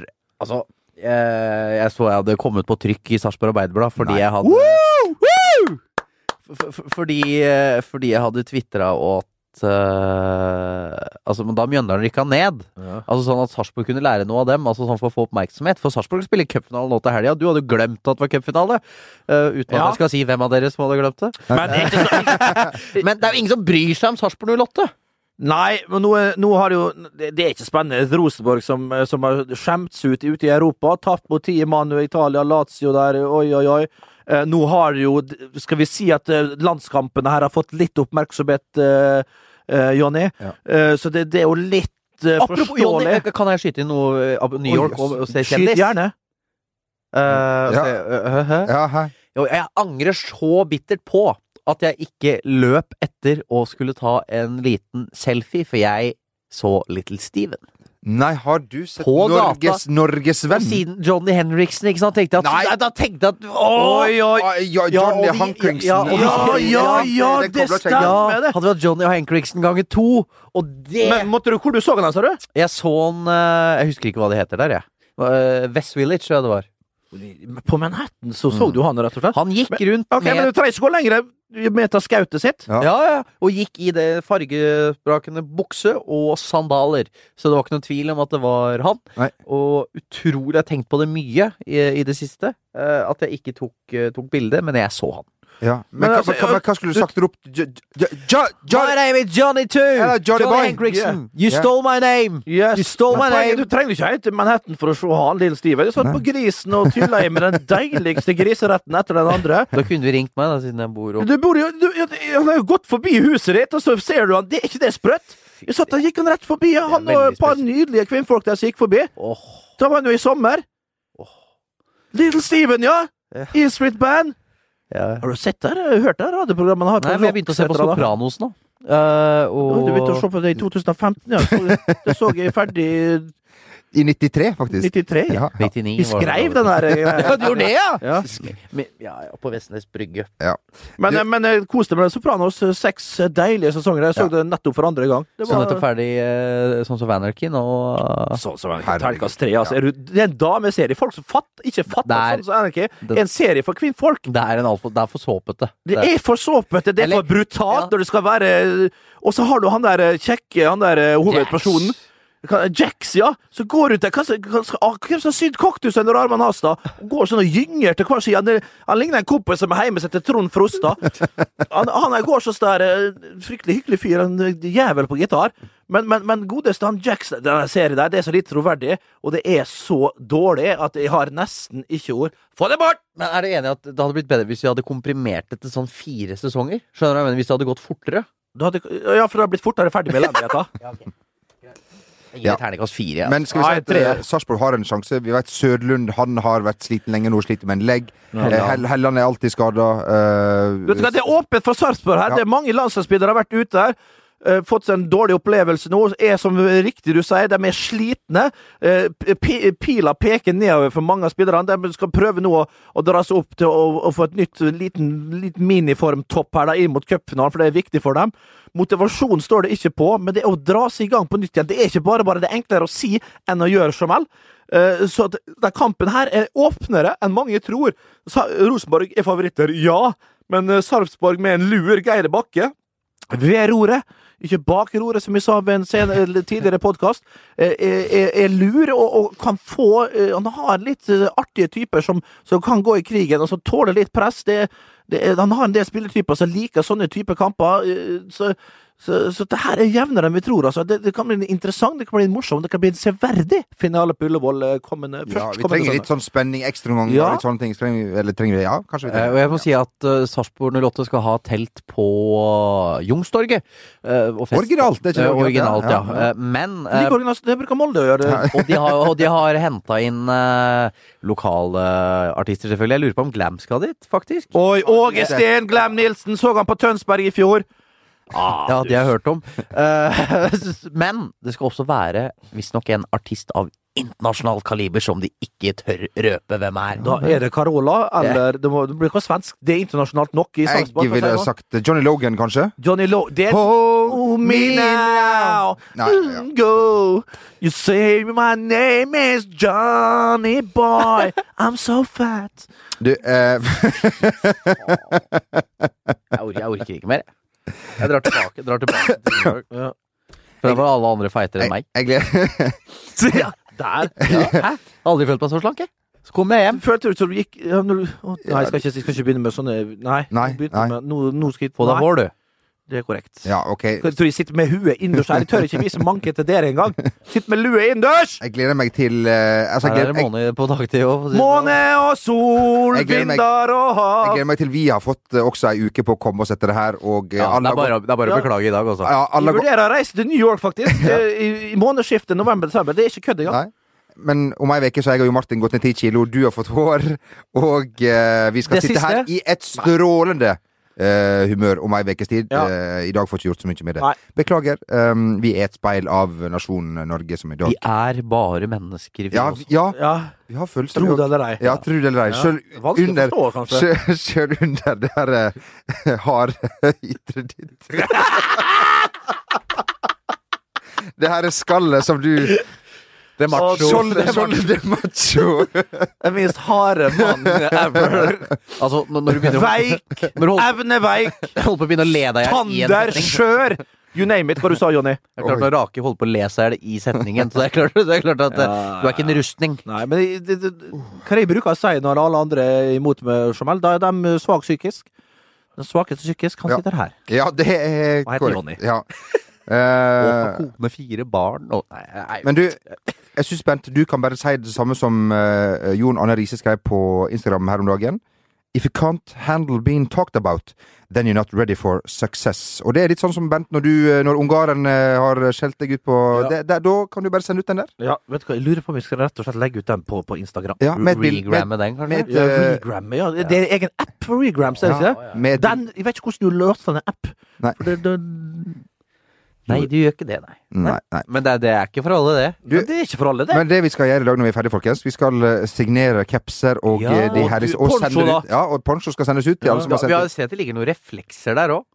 Altså, eh, jeg så jeg hadde kommet på trykk i Sarpsborg Arbeiderblad fordi jeg hadde F- f- Fordi, eh, fordi jeg hadde tvitra at eh, altså, men da Mjøndalen rykka ned. Altså Sånn at Sarpsborg kunne lære noe av dem. Altså sånn For å få oppmerksomhet For Sarpsborg spiller cupfinale nå til helga. Du hadde jo glemt at det var cupfinale! eh, uten at Ja. jeg skal si hvem av dere som hadde glemt det. Men ikke så Men det er jo ingen som bryr seg om Sarpsborg 08! Nei, men nå, er- nå har det jo Det det er ikke spennende. Rosenborg som, eh, som har skjemt seg ut ute i Europa. Tapt mot ti mann i Italia, Lazio der, oi, oi, oi. Eh, nå har jo Skal vi si at eh, landskampene her har fått litt oppmerksomhet eh, eh, Jonny. Ja. Eh, så det, det er jo litt eh, Apropos Johnny, forståelig. kan jeg skyte inn noe eh, av New Oi, York yes. og, og se Skyt kjendis? gjerne. Eh, og Ja. se, eh, hæ, hæ? Ja, hei. Jo, Jeg angrer så bittert på at jeg ikke løp etter og skulle ta en liten selfie, for jeg så Little Steven. Nei, har du sett På gata. Norges Mm. Og Norgesvenn? siden Johnny Henriksen, ikke sant, tenkte jeg at Nei. Da tenkte jeg at Åh! Oi, oi! Ah, Ja, Ja, Johnny og vi- Hankinksen. ja, og vi- Ja, ja, ja, det kobler seg. stemmer. Ja, med det. hadde vært Johnny og Henriksen ganger to, og det Men måtte du, Hvor du så den, sa du? Jeg så han eh, Jeg husker ikke hva det heter der, jeg. Eh, West Village, tror jeg det var. På Manhattan så så du han, rett og slett. Han gikk Men- rundt Ok, Men med du trenger ikke gå lenger med ta skautet sitt. Ja. ja, ja, og gikk i det fargesprakende bukse og sandaler. Så det var ikke noen tvil om at det var han. Nei. Og utrolig Jeg har tenkt på det mye i, i det siste, eh, at jeg ikke tok, eh, tok bilde, men jeg så han. Ja. Men, Men hva, altså, hva, hva, hva skulle du sagt ropt Jo- Jo- Jo- My Jo- name is Johnny too! Hello, Johnny Johnny boy. Henriksen! Yeah. You Yeah. stole my name! Yes. You stole my Men poenget, du name! trenger ikke helt til Manhattan for å se han lille Steven. Jeg satt på grisen og tylla i med den deiligste griseretten etter den andre. Da kunne du ringt meg, da, siden jeg bor opp Du bor jo du, ja, Han har jo gått forbi huset ditt, og så ser du han. Det, er ikke det sprøtt? Jeg satt, da gikk han rett forbi. Han veldig og et par spesielt. nydelige kvinnfolk der som gikk forbi. Åh, Da var han jo i sommer. Little Steven, ja! Ja. East Street Band. ja. Har du sett det? her? Hørt det her radioprogrammet? han har på Nei, men jeg begynte å se på Rock, heter det da. Sopranos nå. Eh, Å, og Du begynte å se på det i 2015, ja. Så, det så jeg ferdig i I 93, faktisk. 93. Ja, ja. 99 Vi var det skrev da. den her. eh, Ja, du gjorde det, ja? Ja. Men- Ja, ja, på Vestnes Brygge. Men, eh, Du- men jeg koste meg med Sopranos. eh, Seks deilige sesonger. Jeg så det nettopp for andre gang. Det Så nettopp ferdig eh, sånn som Vanerkin og eh, så, så var det Sånn Herregud. Terningkast tre. Altså. Er du- Det er en dameserie. Folk som fatt, ikke fatter Der- sånn som Anarchy. den- En serie for kvinnfolk. Det er, en altfor, det er for såpete. Det er for såpete, det er Eller- for brutalt, Ja. og det skal være Og så har du han der eh, kjekke, han der eh, hovedpersonen. Hva- Jax, ja. Så går ut der hva som- hva som- ah, Hvem som har sydd kaktus under armene hans, da? Og Går sånn og gynger til hver side. Han, er- han ligner en kompis som er hjemme seg til Trond Frostad. Han, han er går sånn der eh, Fryktelig hyggelig fyr. En jævel på gitar. Men, men, men godeste han Jax, denne serien der, det er så litt troverdig, og det er så dårlig at jeg har nesten ikke ord. Få det bort! Men er du enig i at det hadde blitt bedre hvis vi hadde komprimert det til sånn fire sesonger? Skjønner du hva jeg mener? Hvis det hadde gått fortere? Du hadde, ja, for det har blitt fortere ferdig med elendigheta. Jeg gir Ja. et terningkast fire. jeg. Men skal vi Nei, si at tre. eh, Sarpsborg har en sjanse. Vi vet Sødlund han har vært sliten lenge nå, sliter med en legg. Eh, Hell- Helland er alltid eh, skada. Vet du hva, Det er åpent for Sarpsborg her. Ja. Det er Mange landslagsspillere har vært ute her. eh, fått seg en dårlig opplevelse nå. Er som riktig du sier, de er slitne. Eh, pi- pila peker nedover for mange av spillerne. De skal prøve nå å, å dra seg opp til å, å få et nytt liten, liten miniformtopp her da, inn mot cupfinalen, for det er viktig for dem. Motivasjon står det ikke på, men det å dra seg i gang på nytt igjen Det er ikke bare bare det er enklere å si enn å gjøre, Jamal. Eh, Så at den kampen her er åpnere enn mange tror. Sa- Rosenborg er favoritter, ja. Men eh, Sarpsborg med en lur Geir Bakke ved roret, ikke bak roret, som vi sa ved en sen eller tidligere podkast, er, er, er lur og, og kan få eh, Han har litt eh, artige typer som, som kan gå i krigen, og som tåler litt press. Det, det, er- han har en del spillertyper som liker sånne typer kamper. eh, Så, så, så det her er jevnere enn vi tror. Altså. Det, det kan bli en interessant, det kan bli en morsom, det kan bli en severdig finale på Ullevål eh, kommende ja, først. Vi trenger litt sånn spenning, ekstraomgang Ja. og litt sånne ting. Så Trenger, vi- eller trenger vi Ja, kanskje vi Eh, og trenger jeg må si at uh, Sarpsborg 08 skal ha telt på uh, Youngstorget. eh, og fest- Originalt, det er ikke Eh, det originalt, originalt, ja. ja. Ja. Eh, men sånn- eh, Like originalt, det bruker Molde å gjøre. og de har, og de har henta inn eh, lokale eh, artister, selvfølgelig. Jeg lurer på om Glam skal dit, faktisk. Oi, Åge Steen, Glem Nilsen, så han på Tønsberg i fjor. Ja, det har jeg hørt om. Eh, Men det skal også være visstnok en artist av internasjonal kaliber som de ikke tør røpe hvem er. Da er det Carola, eller det, må, det blir ikke svensk. Det er internasjonalt nok i Jeg Sarpsborg. for å si ville det ha sånn. sagt eh, Johnny Logan, kanskje. Johnny Low Det er Oh, Oh, me now. Nei, ja. Mm, Go. You say my name is Johnny Boy. I'm so fat. Du, eh, Jeg orker, jeg orker ikke mer. Jeg drar tilbake, drar tilbake til New York. For da var alle andre feitere enn jeg, meg. jeg gleder Ja, der. Hæ? Aldri følt meg så slank, jeg. Så kom jeg hjem. Følte du som du gikk ja, når du- å, Nei, jeg skal, ikke, jeg skal ikke begynne med sånne Nei. Nei, begynte nei. Med, nå, nå skal jeg Få deg hår, du. Det er korrekt. Ja, ok. Jeg tror jeg sitter med huet innendørs her. Jeg tør ikke vise manken til dere engang. Sitter med lue innendørs! Jeg gleder meg til eh, altså, Her jeg, er gleder, det jeg, måned på dagtid òg. Måne og sol, Jeg gleder meg- vinder og jeg hav. gleder meg til vi har fått eh, også ei uke på å komme oss etter det her, og eh, sånn. Ja, det alle er bare, å- det er bare å Ja. beklage i dag, altså. ja, Jeg alle har gått- vurderer å reise til New York, faktisk. Eh, I, i månedsskiftet november-desember. Det er ikke kødd engang. Nei. Men om ei uke så har jeg og Martin gått ned ti kilo, du har fått hår, og eh, vi skal Det sitte siste? her i et strålende eh, humør om ei ukes tid. Ja. Eh, I dag får ikke gjort så mye med det. Nei. Beklager. ehm, vi er et speil av nasjonen Norge som i dag Vi er bare mennesker, vi Ja, også. vi, ja, Ja, vi har følelser. tro vi det har- eller ei. Ja, tro det eller ei. Ja. Sjøl Vanskelig under- å forstå, kanskje. Sjø- Sjøl under det her eh, harde ytre ditt. Det her er skallet som du Det er macho. Skjoldet skjoldet macho. Den minst harde mann ever. Altså, når, når du begynner å Veik, når du holder, evneveik, holder på å begynne å le deg i hjel i en tander, setning skjør. You name it, hva du sa, Jonny. Det er klart Når Rake holder på å le seg i hjel i setningen, så det er klart, det er klart at eh, du er ikke en rustning. Nei, men det, det, det, hva jeg bruker å si når alle andre er imot med Jamal, da er de svak psykisk. Den svakeste psykisk, han Ja. sitter her. Ja, det er Hva heter Ronny? korrekt. Ja. Og Eh, kone, fire barn og Nei, nei. men du, jeg syns Bent, du kan bare si det samme som eh, Jon Anne Riise skrev på Instagram her om dagen. If you can't handle being talked about, then you're not ready for success. Og det er litt sånn som Bent, når, du, eh, når ungaren eh, har skjelt deg ut på Ja. det, det, Da kan du bare sende ut den der. Ja, vet du hva, Jeg lurer på om vi skal rett og slett legge ut den på, på Instagram. Ja, med et bilde med, Regramme den, kanskje? med, Ja, et, Regram, ja. Det er en egen app for regrams, er det ikke det? eh, med et Den, jeg vet ikke hvordan du løser den app. Nei. For det, det, Nei, du gjør ikke det, nei. Nei, nei. Men det, er- det er ikke for alle, det. Du- men det er ikke for alle, det. Men det vi skal gjøre i dag når vi er ferdige, folkens Vi skal eh, signere capser og Ja. eh, de Og herres du- og poncho, sende det da. ut. Ja, og poncho skal sendes ut til alle som Ja, har vi sendt har ut. sett det ligger noen reflekser der òg.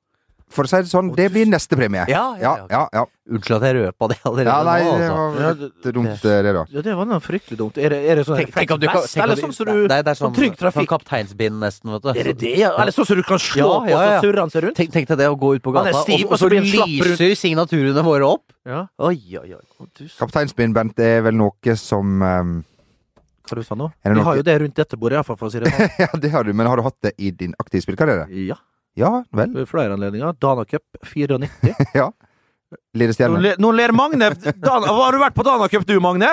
For å si det sånn, det blir neste premie. Ja, Ja, ja, ja. Unnskyld at jeg røpa det allerede ja nei, nå, det altså. var Ja, litt dumt, eh, det, da. Ja, det var noe fryktelig dumt. Er det, er det sånn Tenk, tenk om du kan refleksvest, tenk om Eller du- sånn som du Nei, det er sånn, sånn trygg trafikk? Sånn kapteinspinn, nesten, vet du. Er det det, ja? Eller sånn som du kan slå Ja, ja, ja. på, så surrer han seg rundt? Tenk, tenk deg det, å gå ut på Han er gata, stiv, og, og så og så blir han slapp lyser signaturene våre opp. Ja. Oi, oi, oi. Å, du s- Kapteinspinn, Bent, er vel noe som eh, Hva du sa nå? Er Vi det noe- har jo det rundt dette bordet, iallfall, for å si det sånn. Ja, det har du, men har du hatt det i din aktive spillkarriere? Ja, Ja vel. ved flere anledninger. Dana Cup 94. Nå Lillestjerne. ler, nå ler Magne Dan, Hva Har du vært på Dana Cup, du, Magne?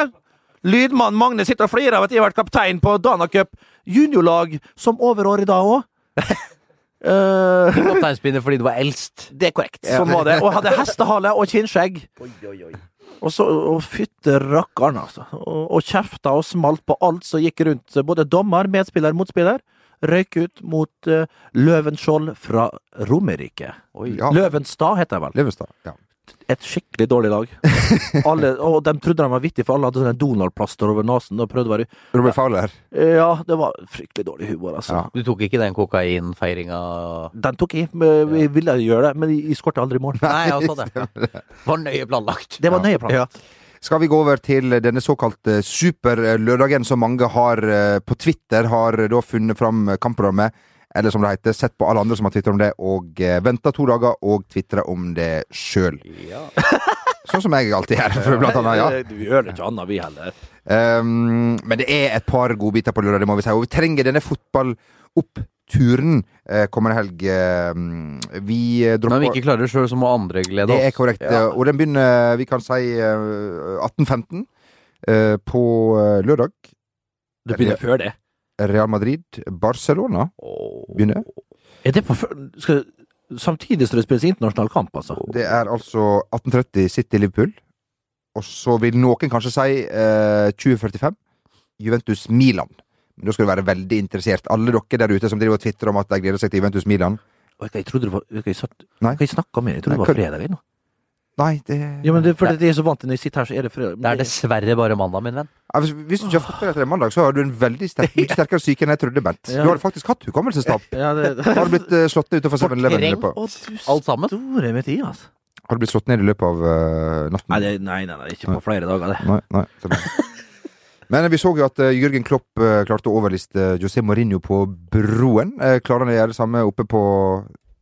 Lydmann Magne sitter og flirer av at jeg har vært kaptein på Dana Cup juniorlag som overår i dag Eh, òg. Kapteinspinnet fordi du var eldst. det er korrekt. Sånn var det. Og hadde hestehale og kinnskjegg. Oi, oi, oi. Og så og fytte rakkeren, altså. Og, og kjefta og smalt på alt som gikk rundt. Både dommer, medspiller, motspiller. Røyk ut mot eh, Løvenskiold fra Romerike. Ja. Løvenstad heter det vel. Løvenstad. Ja. Et skikkelig dårlig lag. Alle, og de trodde de var vittige, for alle hadde sånne Donald-plaster over nesen. Og prøvde å være eh, Robert Fowler. Ja, det var fryktelig dårlig humor, altså. Ja. Du tok ikke den kokainfeiringa Den tok jeg. men Jeg ville gjøre det, men jeg skåret aldri mål. Nei, jeg sa det. Var nøye planlagt. Det var nøye plan. Skal vi gå over til denne såkalte superlørdagen som mange har eh, på Twitter har da funnet fram eh, kampprogrammet, eller som det heter, sett på alle andre som har twittra om det, og eh, venta to dager og tvitra om det sjøl. Sånn som jeg alltid gjør, for blant annet. Ja. Vi Eh, gjør det ikke annet, vi heller. Um, men det er et par godbiter på lørdag, det må vi si. Og vi trenger denne fotballoppturen eh, kommende helg. Um, vi eh, Når vi dropper ikke klarer det sjøl, så må andre glede Det oss. er korrekt. eh, Og den begynner, vi kan si, eh, 18.15 eh, på eh, lørdag. Du begynner før det. Real Madrid, Barcelona begynner. Er det på før... Skal... Samtidig som det spilles internasjonal kamp, altså. Det er altså 18.30 City Liverpool. Og så vil noen kanskje si eh, 2045 Juventus Milan. Men da skal du være veldig interessert. Alle dere der ute som driver og tvitrer om at de gleder seg til Juventus Milan. Oi, Jeg trodde det var Oi, Jeg, satt... Nei. jeg snakka med Jeg trodde Nei, det var fredag ennå. Nei, det Ja, men det, for det er så vant til når jeg sitter her, så er det fredag. Men Det er dessverre bare mandag, min venn. Ja, hvis, hvis du ikke har fått det etter en mandag, så har du en veldig sterk, mye sterkere syke enn jeg trodde, Bent. Ja. Du har faktisk hatt hukommelsestap. Ja, det... Har du blitt eh, slått ned utenfor 7-Eleven i Fortreng. løpet av- Å, du Alt sammen. store med tid, altså. Har du blitt slått ned i løpet av eh, natten? Nei, det, nei, nei, nei, ikke på flere dager, det. Nei, nei, det er bra. Men vi så jo at eh, Jørgen Klopp eh, klarte å overliste José Mourinho på Broen. Eh, Klarer han å gjøre det samme oppe på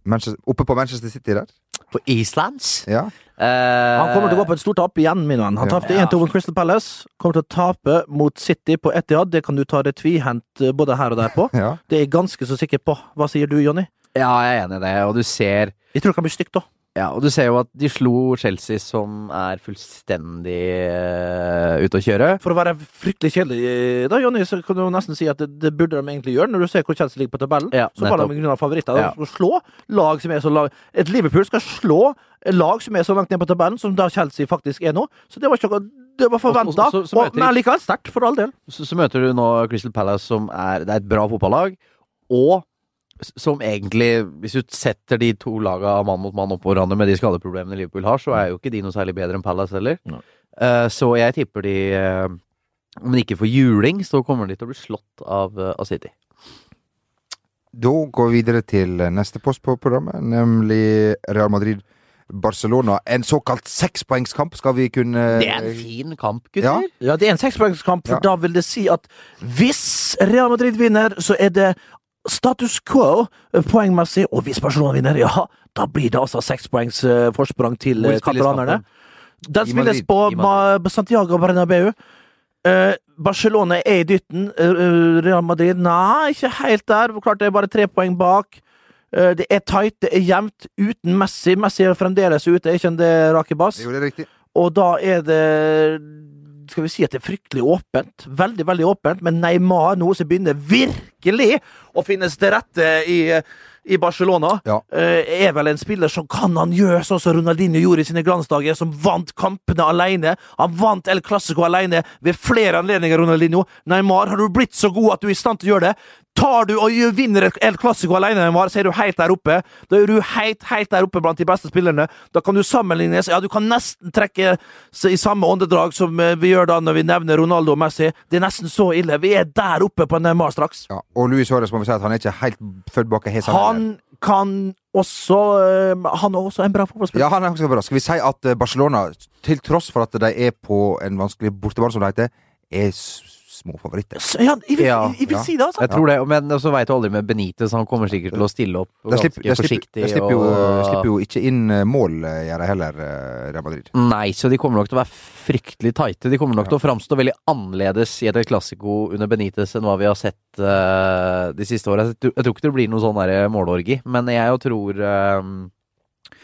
Manchester, oppe på Manchester City der? På Islands. Ja. Eh, Han kommer til å gå på et stort tap igjen, min venn. Han Ja. tapte 1-2 mot Crystal Palace. Kommer til å tape mot City på Etihad. Det kan du ta det tvihendt eh, både her og der på. ja. Det er jeg ganske så sikker på. Hva sier du, Jonny? Ja, jeg er enig i det, og du ser Jeg tror det kan bli stygt, da. Ja, og du ser jo at de slo Chelsea, som er fullstendig eh, ute å kjøre. For å være fryktelig kjedelig, eh, da, Jonny, så kan du jo nesten si at det, det burde de egentlig gjøre, når du ser hvor Chelsea ligger på tabellen. Ja, så var de nettopp. noen av favoritter. De Ja. skal slå lag som er så lag... Et Liverpool skal slå et lag som er så langt ned på tabellen, som da Chelsea faktisk er nå. Så det var ikke noe Det var forventa. Og så- så- så møter de- Men likevel sterkt, for all del. Så, så møter du nå Crystal Palace, som er, det er et bra fotballag, og s- som egentlig, hvis du setter de to laga mann mot mann opp på hverandre med de skadeproblemene Liverpool har, så er jo ikke de noe særlig bedre enn Palace heller. Nei. Eh, så jeg tipper de eh, Om de ikke får juling, så kommer de til å bli slått av, eh, av City. Da går vi videre til neste post på programmet, nemlig Real Madrid-Barcelona. En såkalt sekspoengskamp skal vi kunne Det er en fin kamp, Ja. gutter! Ja, det er en sekspoengskamp, for Ja. da vil det si at hvis Real Madrid vinner, så er det status quo eh, poengmessig, og hvis Barcelona vinner, ja, da blir det altså sekspoengs eh, forsprang til Hvor eh, spilles katalanerne. kampen? Den I spilles Madrid. på I Ma Santiago Bernabeu. Eh, Barcelona er i dytten. Eh, Real Madrid nei, ikke helt der. Klart det er bare tre poeng bak. Eh, det er tight, det er jevnt, uten Messi. Messi er fremdeles ute, er ikke han det, Raki Bass? Jo, det er riktig. Og da er det Skal vi si at det er fryktelig åpent? Veldig, veldig åpent, men Neymar nå som begynner virkelig å finnes til rette i, i Barcelona. Ja. eh, Er vel en spiller som kan han gjøre sånn som Ronaldinho gjorde i sine glansdager, som vant kampene alene. Han vant El Clásico alene ved flere anledninger, Ronaldinho. Neymar, har du blitt så god at du er i stand til å gjøre det? Tar du og gjør- vinner et El Clásico alene, Neymar, så er du helt der oppe. Da er du helt, helt der oppe blant de beste spillerne. Da kan du sammenlignes Ja, du kan nesten trekke s- i samme åndedrag som eh, vi gjør da når vi nevner Ronaldo og Messi. Det er nesten så ille. Vi er der oppe på Neymar straks. Ja. Og Luis Suárez må vi si at han er ikke helt født bak en hes Han kan også eh, Han er også en bra fotballspiller. Ja, han er også bra. Skal vi si at eh, Barcelona, til tross for at de er på en vanskelig bortebane, som det heter, er s- små favoritter. S- Ja, jeg vil, Ja, jeg vil ja. si det, altså. Jeg tror det, men så veit du aldri med Benitez, han kommer sikkert til å stille opp De ganske slipper, de slipper, forsiktig. de slipper, jo, og- slipper jo ikke inn eh, mål, eh, gjør de heller, eh, Real Madrid. Nei, så de kommer nok til å være fryktelig tighte. De kommer nok Ja. til å framstå veldig annerledes i et klassiko under Benitez enn hva vi har sett eh, de siste åra. Jeg, tror- jeg tror ikke det blir noe sånn derre målorgi, men jeg jo tror eh,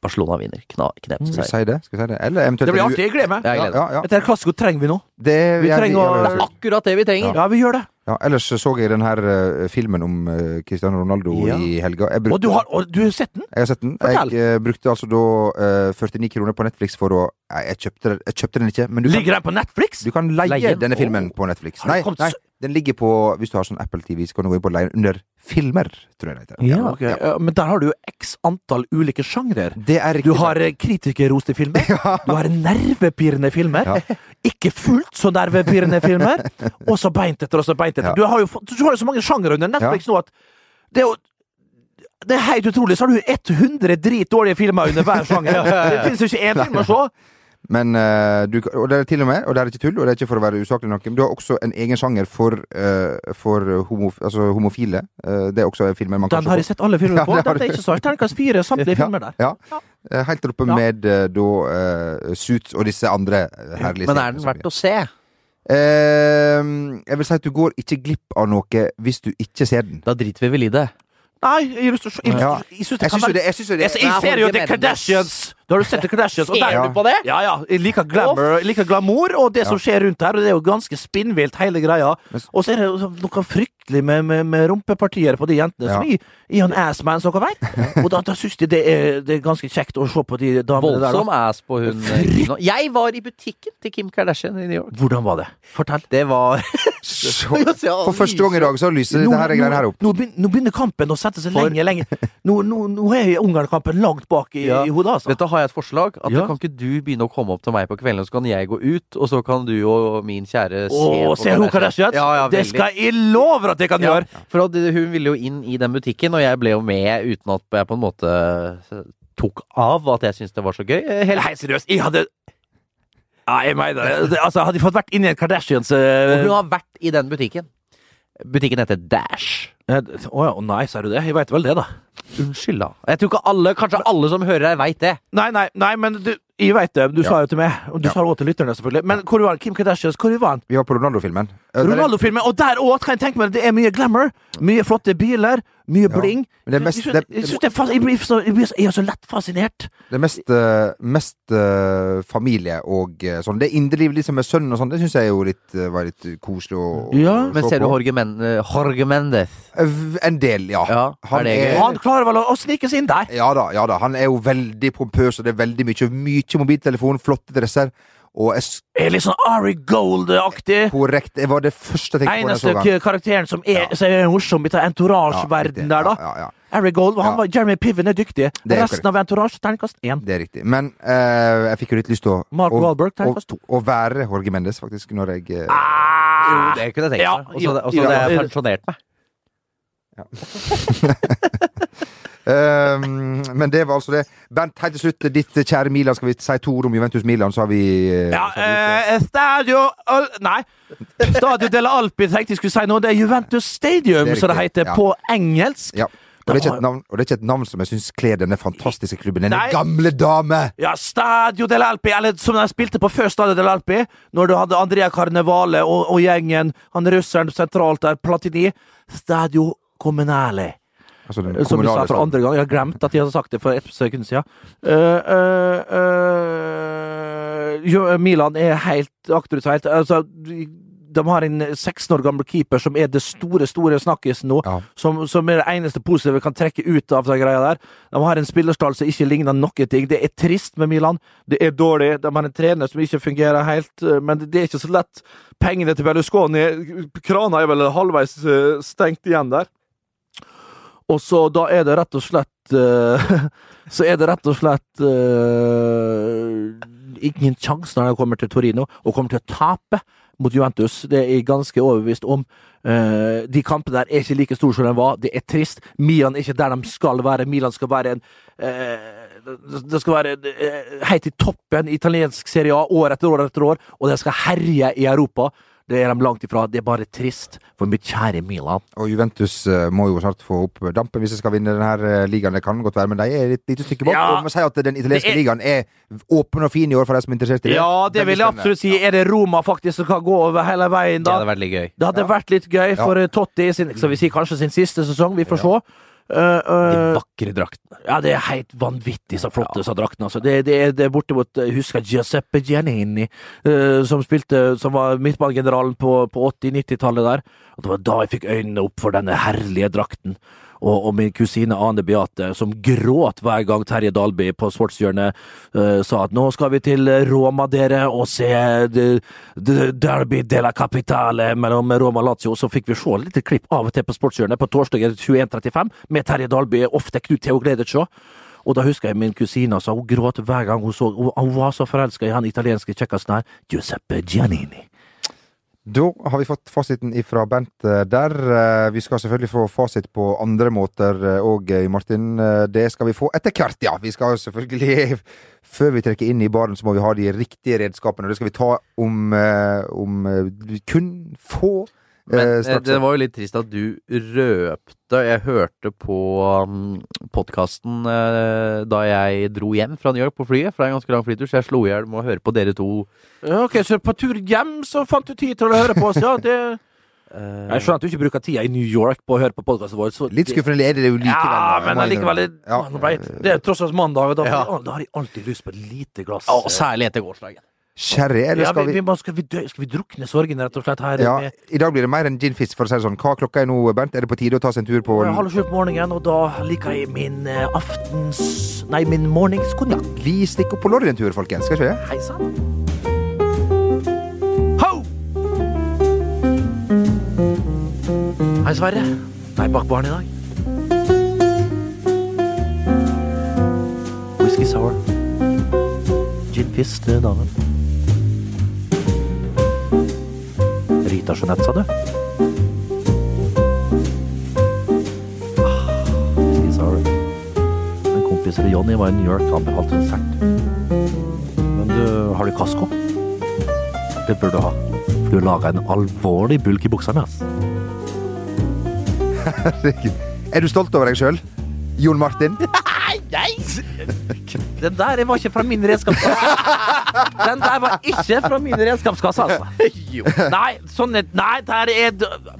Barcelona vinner. Kna, knept Skal vi seier. si det? Skal vi si det? Eller eventuelt Det blir artig. Jeg gleder meg. Ja, jeg Mm. Ja, gleder ja, ja. Dette her klassiko trenger vi nå. Det, Vi jeg- trenger å- jeg- meg. Akkurat det vi trenger. Ja, vi gjør det. Ja, ellers så så jeg den her eh, filmen om eh, Cristiano Ronaldo Ja. i helga. Jeg, brukte, Og du har, og du har sett den? jeg har sett den. Fortell. Jeg eh, brukte altså da eh, 49 kroner på Netflix for å Nei, jeg kjøpte, den- jeg kjøpte den ikke, men du kan, Ligger den på Netflix? du kan leie, Leie den? denne filmen på Netflix. Har det Nei, kommet nei, så- den ligger på Hvis du har sånn Apple TV, så kan du gå inn på leie under filmer, tror jeg det heter. Ja, ok. Ja, Men der har du jo x antall ulike sjangrer. Det er riktig. Du har eh, kritikerroste filmer, du har nervepirrende filmer, ikke fullt så nervepirrende filmer, og så beint etter og så beint etter. Ja. Du har jo fått- du har jo så mange sjangre under Netflix nå at det er jo det er helt utrolig. Så har du 100 dritdårlige filmer under hver sjanger. Det fins jo ikke én film å se! Men eh, du, kan- og det er til og med, og det er ikke tull, og det er ikke for å være usaklig noe, men du har også en egen sjanger for, eh, for homo, altså homofile. Eh, det er også filmer man kan Den se på. har jeg sett alle Ja, filmer på. det har Dette er du. ikke så Terningkast fire, samtlige Ja. filmer der. Ja. Eh, Helt oppe Ja. med eh, da eh, Suits og disse andre eh, herlige Men er den verdt å se? Ehm, Jeg vil si at du går ikke glipp av noe hvis du ikke ser den. Da driter vi vel i det. Nei, jeg syns det, Ja. jeg synes det Jeg kan syns jo være det, jeg syns jo det Jeg, jeg Nei, ser jo Holger The Mendes. Kardashians! Da har du sett The Kardashians. Og Ser der, du på det? ja, ja. Jeg liker, glamour, jeg liker glamour og det som skjer rundt her, og det er jo ganske spinnvilt, hele greia. Men s- Og så er det jo så- noe fryktelig med, med, med rumpepartier på de jentene, Ja. som i, i en assman, som dere vet. Og da, da syns de det er, det er ganske kjekt å se på de damene der. Voldsom da. ass på hun eh, Kim nå. Jeg var i butikken til Kim Kardashian i New York. Hvordan var det? Fortell. Det var Så- For første gang i dag så lyser det her greiene her opp. nå, begyn- nå begynner kampen å sette seg lenge, lenge. Nå, nå, nå er Ungarn-kampen langt bak i, Ja. i hodet, altså. Vet du, har jeg et forslag? At Ja. Kan ikke du begynne å komme opp til meg på kvelden, så kan jeg gå ut, og så kan du og min kjære se Å, på ser hun Kardashians? Ja, ja, det veldig. skal jeg love dere at jeg kan Ja, gjøre! for at hun ville jo inn i den butikken, og jeg ble jo med uten at jeg på en måte tok av at jeg syntes det var så gøy. Eh, Helt Helt seriøst, jeg hadde Ja, jeg mener det. det. Altså, hadde jeg fått vært inni en Kardashians Og eh, hun har vært i den butikken. Butikken heter Dash. eh, Å ja, å nei, sa du det? Jeg veit vel det, da. Unnskyld, da. Jeg tror ikke alle, kanskje alle som hører her, veit det. Nei, nei, nei, men du Jeg veit det, du sa jo til meg, og du sa det også til lytterne, selvfølgelig. Men hvor var han? Kim Kardashians, hvor var han? Vi var på Ronaldo-filmen. Eh, der er- Ronaldo-filmen! Og der òg kan jeg tenke meg at det er mye glamour, mye flotte biler, mye bling. Men det er mest- jeg, synes- det- jeg, synes det er fas- jeg, blir så, jeg, blir så, jeg er så lett fascinert. Det er mest, eh, mest eh, familie og eh, sånn. Det indrelivet liksom med sønnen og sånn, det syns jeg jo litt, eh, var litt koselig å, å Ja, å Men se ser du på. Jorge, Men eh, Jorge Mendes? Eh, En del, ja. Ja, er han det gøy? er, Han klarer vel å, å snike seg inn der. Ja da, ja da. Han er jo veldig pompøs, og det er veldig mye, mye mobiltelefon, flotte dresser. Og jeg, s- Er litt sånn Ari Gold-aktig. korrekt, det var det første jeg tenkte på da jeg Eneste så han. k- karakteren som er, som er morsom i den entourage-verden Ja, der, da. Ja, ja, ja. Ari Gold, han Ja. var, Jeremy Piven er dyktig. Det er Resten av entourage, terningkast én. Det er riktig. Men eh, jeg fikk jo litt lyst til å, Mark å, Wahlberg, å, terningkast to. å være Jorge Mendes, faktisk, når jeg eh, Jo, Ah! det kunne jeg tenkt Ja, meg. Og ja, så og så ja. hadde jeg pensjonert meg. Ehm, men det var altså det. Bent, helt til slutt, ditt kjære Milan. Skal vi si to ord om Juventus Milan, så har vi eh, Ja, så har vi- eh, Stadio Al Nei. Stadio Della Alpi tenkte jeg skulle si noe. Det er Juventus Stadium, Det er som det riktig, heter ja. på engelsk. ja. Og det, er ikke et navn, og det er ikke et navn som jeg syns kler denne fantastiske klubben. Denne Nei. gamle dame! Ja, Stadio del Alpi, eller som de spilte på før Stadio del Alpi, når du hadde Andrea Carnevale og, og gjengen, han russeren sentralt der, Platini. Stadio Comunale. Altså, den Som vi sa kommunale for staden. andre gang. Jeg har glemt at jeg hadde sagt det for et sekund siden. Eh, eh, eh, jo, Milan er helt akterutseilt. Altså, de de har en 16 år gammel keeper som er det store store snakkisen nå. Ja. Som, som er det eneste positive vi kan trekke ut av den greia der. De har en spillerstall som ikke ligner noe ting. Det er trist med Milan. Det er dårlig. De har en trener som ikke fungerer helt, eh, men det er ikke så lett. Pengene til Berlusconi Krana er vel halvveis eh, stengt igjen der. Og så da er det rett og slett eh, Så er det rett og slett eh, ingen sjanse når de kommer til Torino, og kommer til å tape mot Juventus. Det er jeg ganske overbevist om. Eh, de kampene der er ikke like store som de var. Det er trist. Milan er ikke der de skal være. Milan skal være en eh, det det skal være eh, helt i toppen i italiensk Serie A år etter år etter år, og de skal herje i Europa. Det er de langt ifra. Det er bare trist for mitt kjære Milan. Og Juventus eh, må jo snart få opp dampen hvis de skal vinne denne eh, ligaen. Det kan godt være, men de er et lite stykke bak. Ja. Og vi må si at den italienske Det er- ligaen er åpen og fin i år for de som er interessert i det. Ja, det Veldig vil jeg spennende. absolutt si. Er det Roma faktisk som kan gå over hele veien, Det da? hadde vært litt gøy. Det hadde vært litt gøy for eh, Totti i sin, skal vi si, kanskje sin siste sesong. Vi får se. Eh, De eh, vakre draktene. ja, det er helt vanvittig så flotte disse draktene. Altså. Det, det, er- det er bortimot Jeg husker Giuseppe Giannini, eh, som spilte Som var midtbanegeneralen på, på 80-90-tallet der. Og det var da jeg fikk øynene opp for denne herlige drakten. Og, og min kusine Ane Beate, som gråt hver gang Terje Dalby på Sportshjørnet eh, sa at nå skal vi til Roma, dere, og se de- de- Derby de la Capitale mellom Roma og Lazio. Så fikk vi se litt klipp av og til på Sportshjørnet på torsdager 21.35 med Terje Dalby, ofte Knut Theo Gledertsjå. Og da husker jeg min kusine sa hun gråt hver gang hun så Hun, hun var så forelska i han italienske kjekkasen her, Giuseppe Giannini. Da har vi fått fasiten ifra Bent eh, der. Eh, Vi skal selvfølgelig få fasit på andre måter òg, Martin. Eh, Det skal vi få etter hvert, ja. Vi skal selvfølgelig Før vi trekker inn i baren, så må vi ha de riktige redskapene. og Det skal vi ta om, eh, om eh, kun få eh, Men eh, straks. det var jo litt trist at du røpte Jeg hørte på um, podkasten eh, da jeg dro hjem fra New York på flyet, for det er en ganske lang flytur, så jeg slo i hjel med å høre på dere to. Ja, Ok, så på tur hjem så fant du tid til å høre på oss, ja. Det... eh, Jeg skjønner at du ikke bruker tida i New York på å høre på podkasten vår. Så Litt det- skuffende er det jo likevel. da. Ja, Jeg men må allikevel det, innrømme. Ja. man vet, det er tross alt mandag, og da, Ja. da har jeg alltid lyst på et lite glass. å, særlig etter gårsdagen. Sherry, eller ja, skal vi, vi vi må, skal, vi dø, skal vi drukne sorgen, rett og slett, her? ja, med- I dag blir det mer enn gin fizz, for å si det sånn. Hva klokka er nå, Bernt? Er det på tide å ta seg en tur på Det er halv sju på morgenen, og da liker jeg min eh, aftens Nei, min morgenskonjakk. Vi stikker opp på Lorry en tur, folkens. Skal vi ikke det? Hei sann. Ho! Hei, Sverre. Nei, bak baren i dag. Whisky sour. Gin fizz til damen. Rita Jeanette, sa du? Ah, Whisky sour. En kompis til Johnny var i New York. Han behalte en sert. Men du, har du kasko? Det bør du ha. For du har laga en alvorlig bulk i buksa mi, ass. Er du stolt over deg sjøl, Jon Martin? Nei! Den der var ikke fra min redskapskasse. Den der var ikke fra min redskapskasse, altså. Nei, sånn er- Nei, der er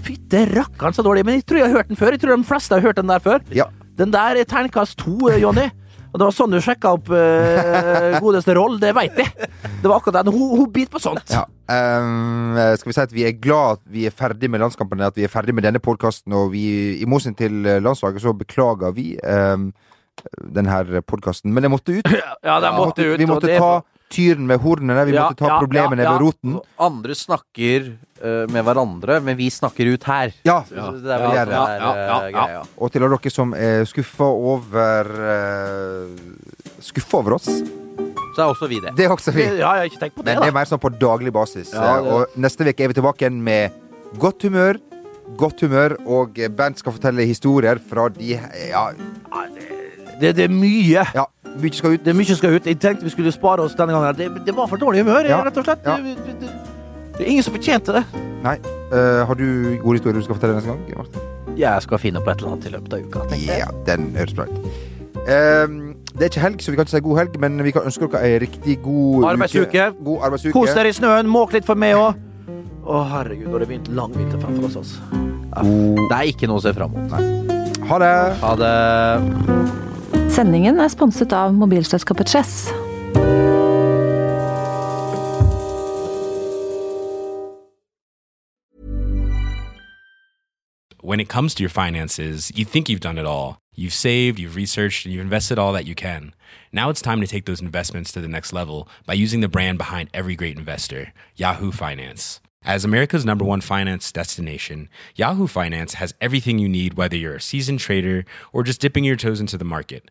Fytte rakkeren så dårlig. Men jeg tror jeg har hørt den før. Jeg tror de fleste har hørt den der før. Ja. Den der er terningkast to, eh, Jonny. Og det var sånn du sjekka opp eh, godeste roll, det veit jeg. Det var akkurat den. Hun, hun biter på sånt. Ja. ehm, skal vi si at vi er glad at vi er ferdig med landskampene, at vi er ferdig med denne podkasten, og vi, i motsetning til eh, landslaget, så beklager vi ehm, den her podkasten. Men det måtte ut. Ja, den måtte ut. vi og måtte det- ta tyren ved hornene, vi Ja, måtte ta ja, problemene ja, ja. ved roten. Andre snakker eh, med hverandre, men vi snakker ut her. Ja. Så Det er vi vel gjør det som det. er Ja, ja, eh, ja. greia. Og til alle dere som er skuffa over uh, Skuffa over oss. Så er også vi det. Det er også vi. Ja, jeg har ikke tenkt på det. Men det er da. mer sånn på daglig basis. Ja, Eh, det- Og neste uke er vi tilbake igjen med godt humør. Godt humør, og Bernt skal fortelle historier fra de Ja, Det, det er mye. ja mye skal ut. Det er mye som skal ut. Jeg tenkte vi skulle spare oss denne gangen. Det, det var for dårlig humør, Ja, rett og slett. ja. Det, det, det, det er ingen som fortjente det. Nei. eh, har du gode historier du skal fortelle neste gang? Martin? Jeg skal finne på et eller annet i løpet av uka. tenker jeg. Ja, den høres bra ut. Ehm, det er ikke helg, så vi kan ikke si god helg, men vi kan ønske dere ei riktig god Arbeidsuke. Uke. God arbeidsuke. Kos dere i snøen. Måk litt for meg òg. Å, herregud, nå har det begynt lang vinter fremfor oss. Altså. Det er ikke noe å se fram mot. Ha det. Ha det. Sendingen er sponset av mobilselskapet Chess. When it comes to your finances, you think you've done it all. You've saved, you've researched, and you've invested all that you can. Now it's time to take those investments to the next level by using the brand behind every great investor, Yahoo Finance. As America's number one finance destination, Yahoo Finance has everything you need, whether you're a seasoned trader or just dipping your toes into the market.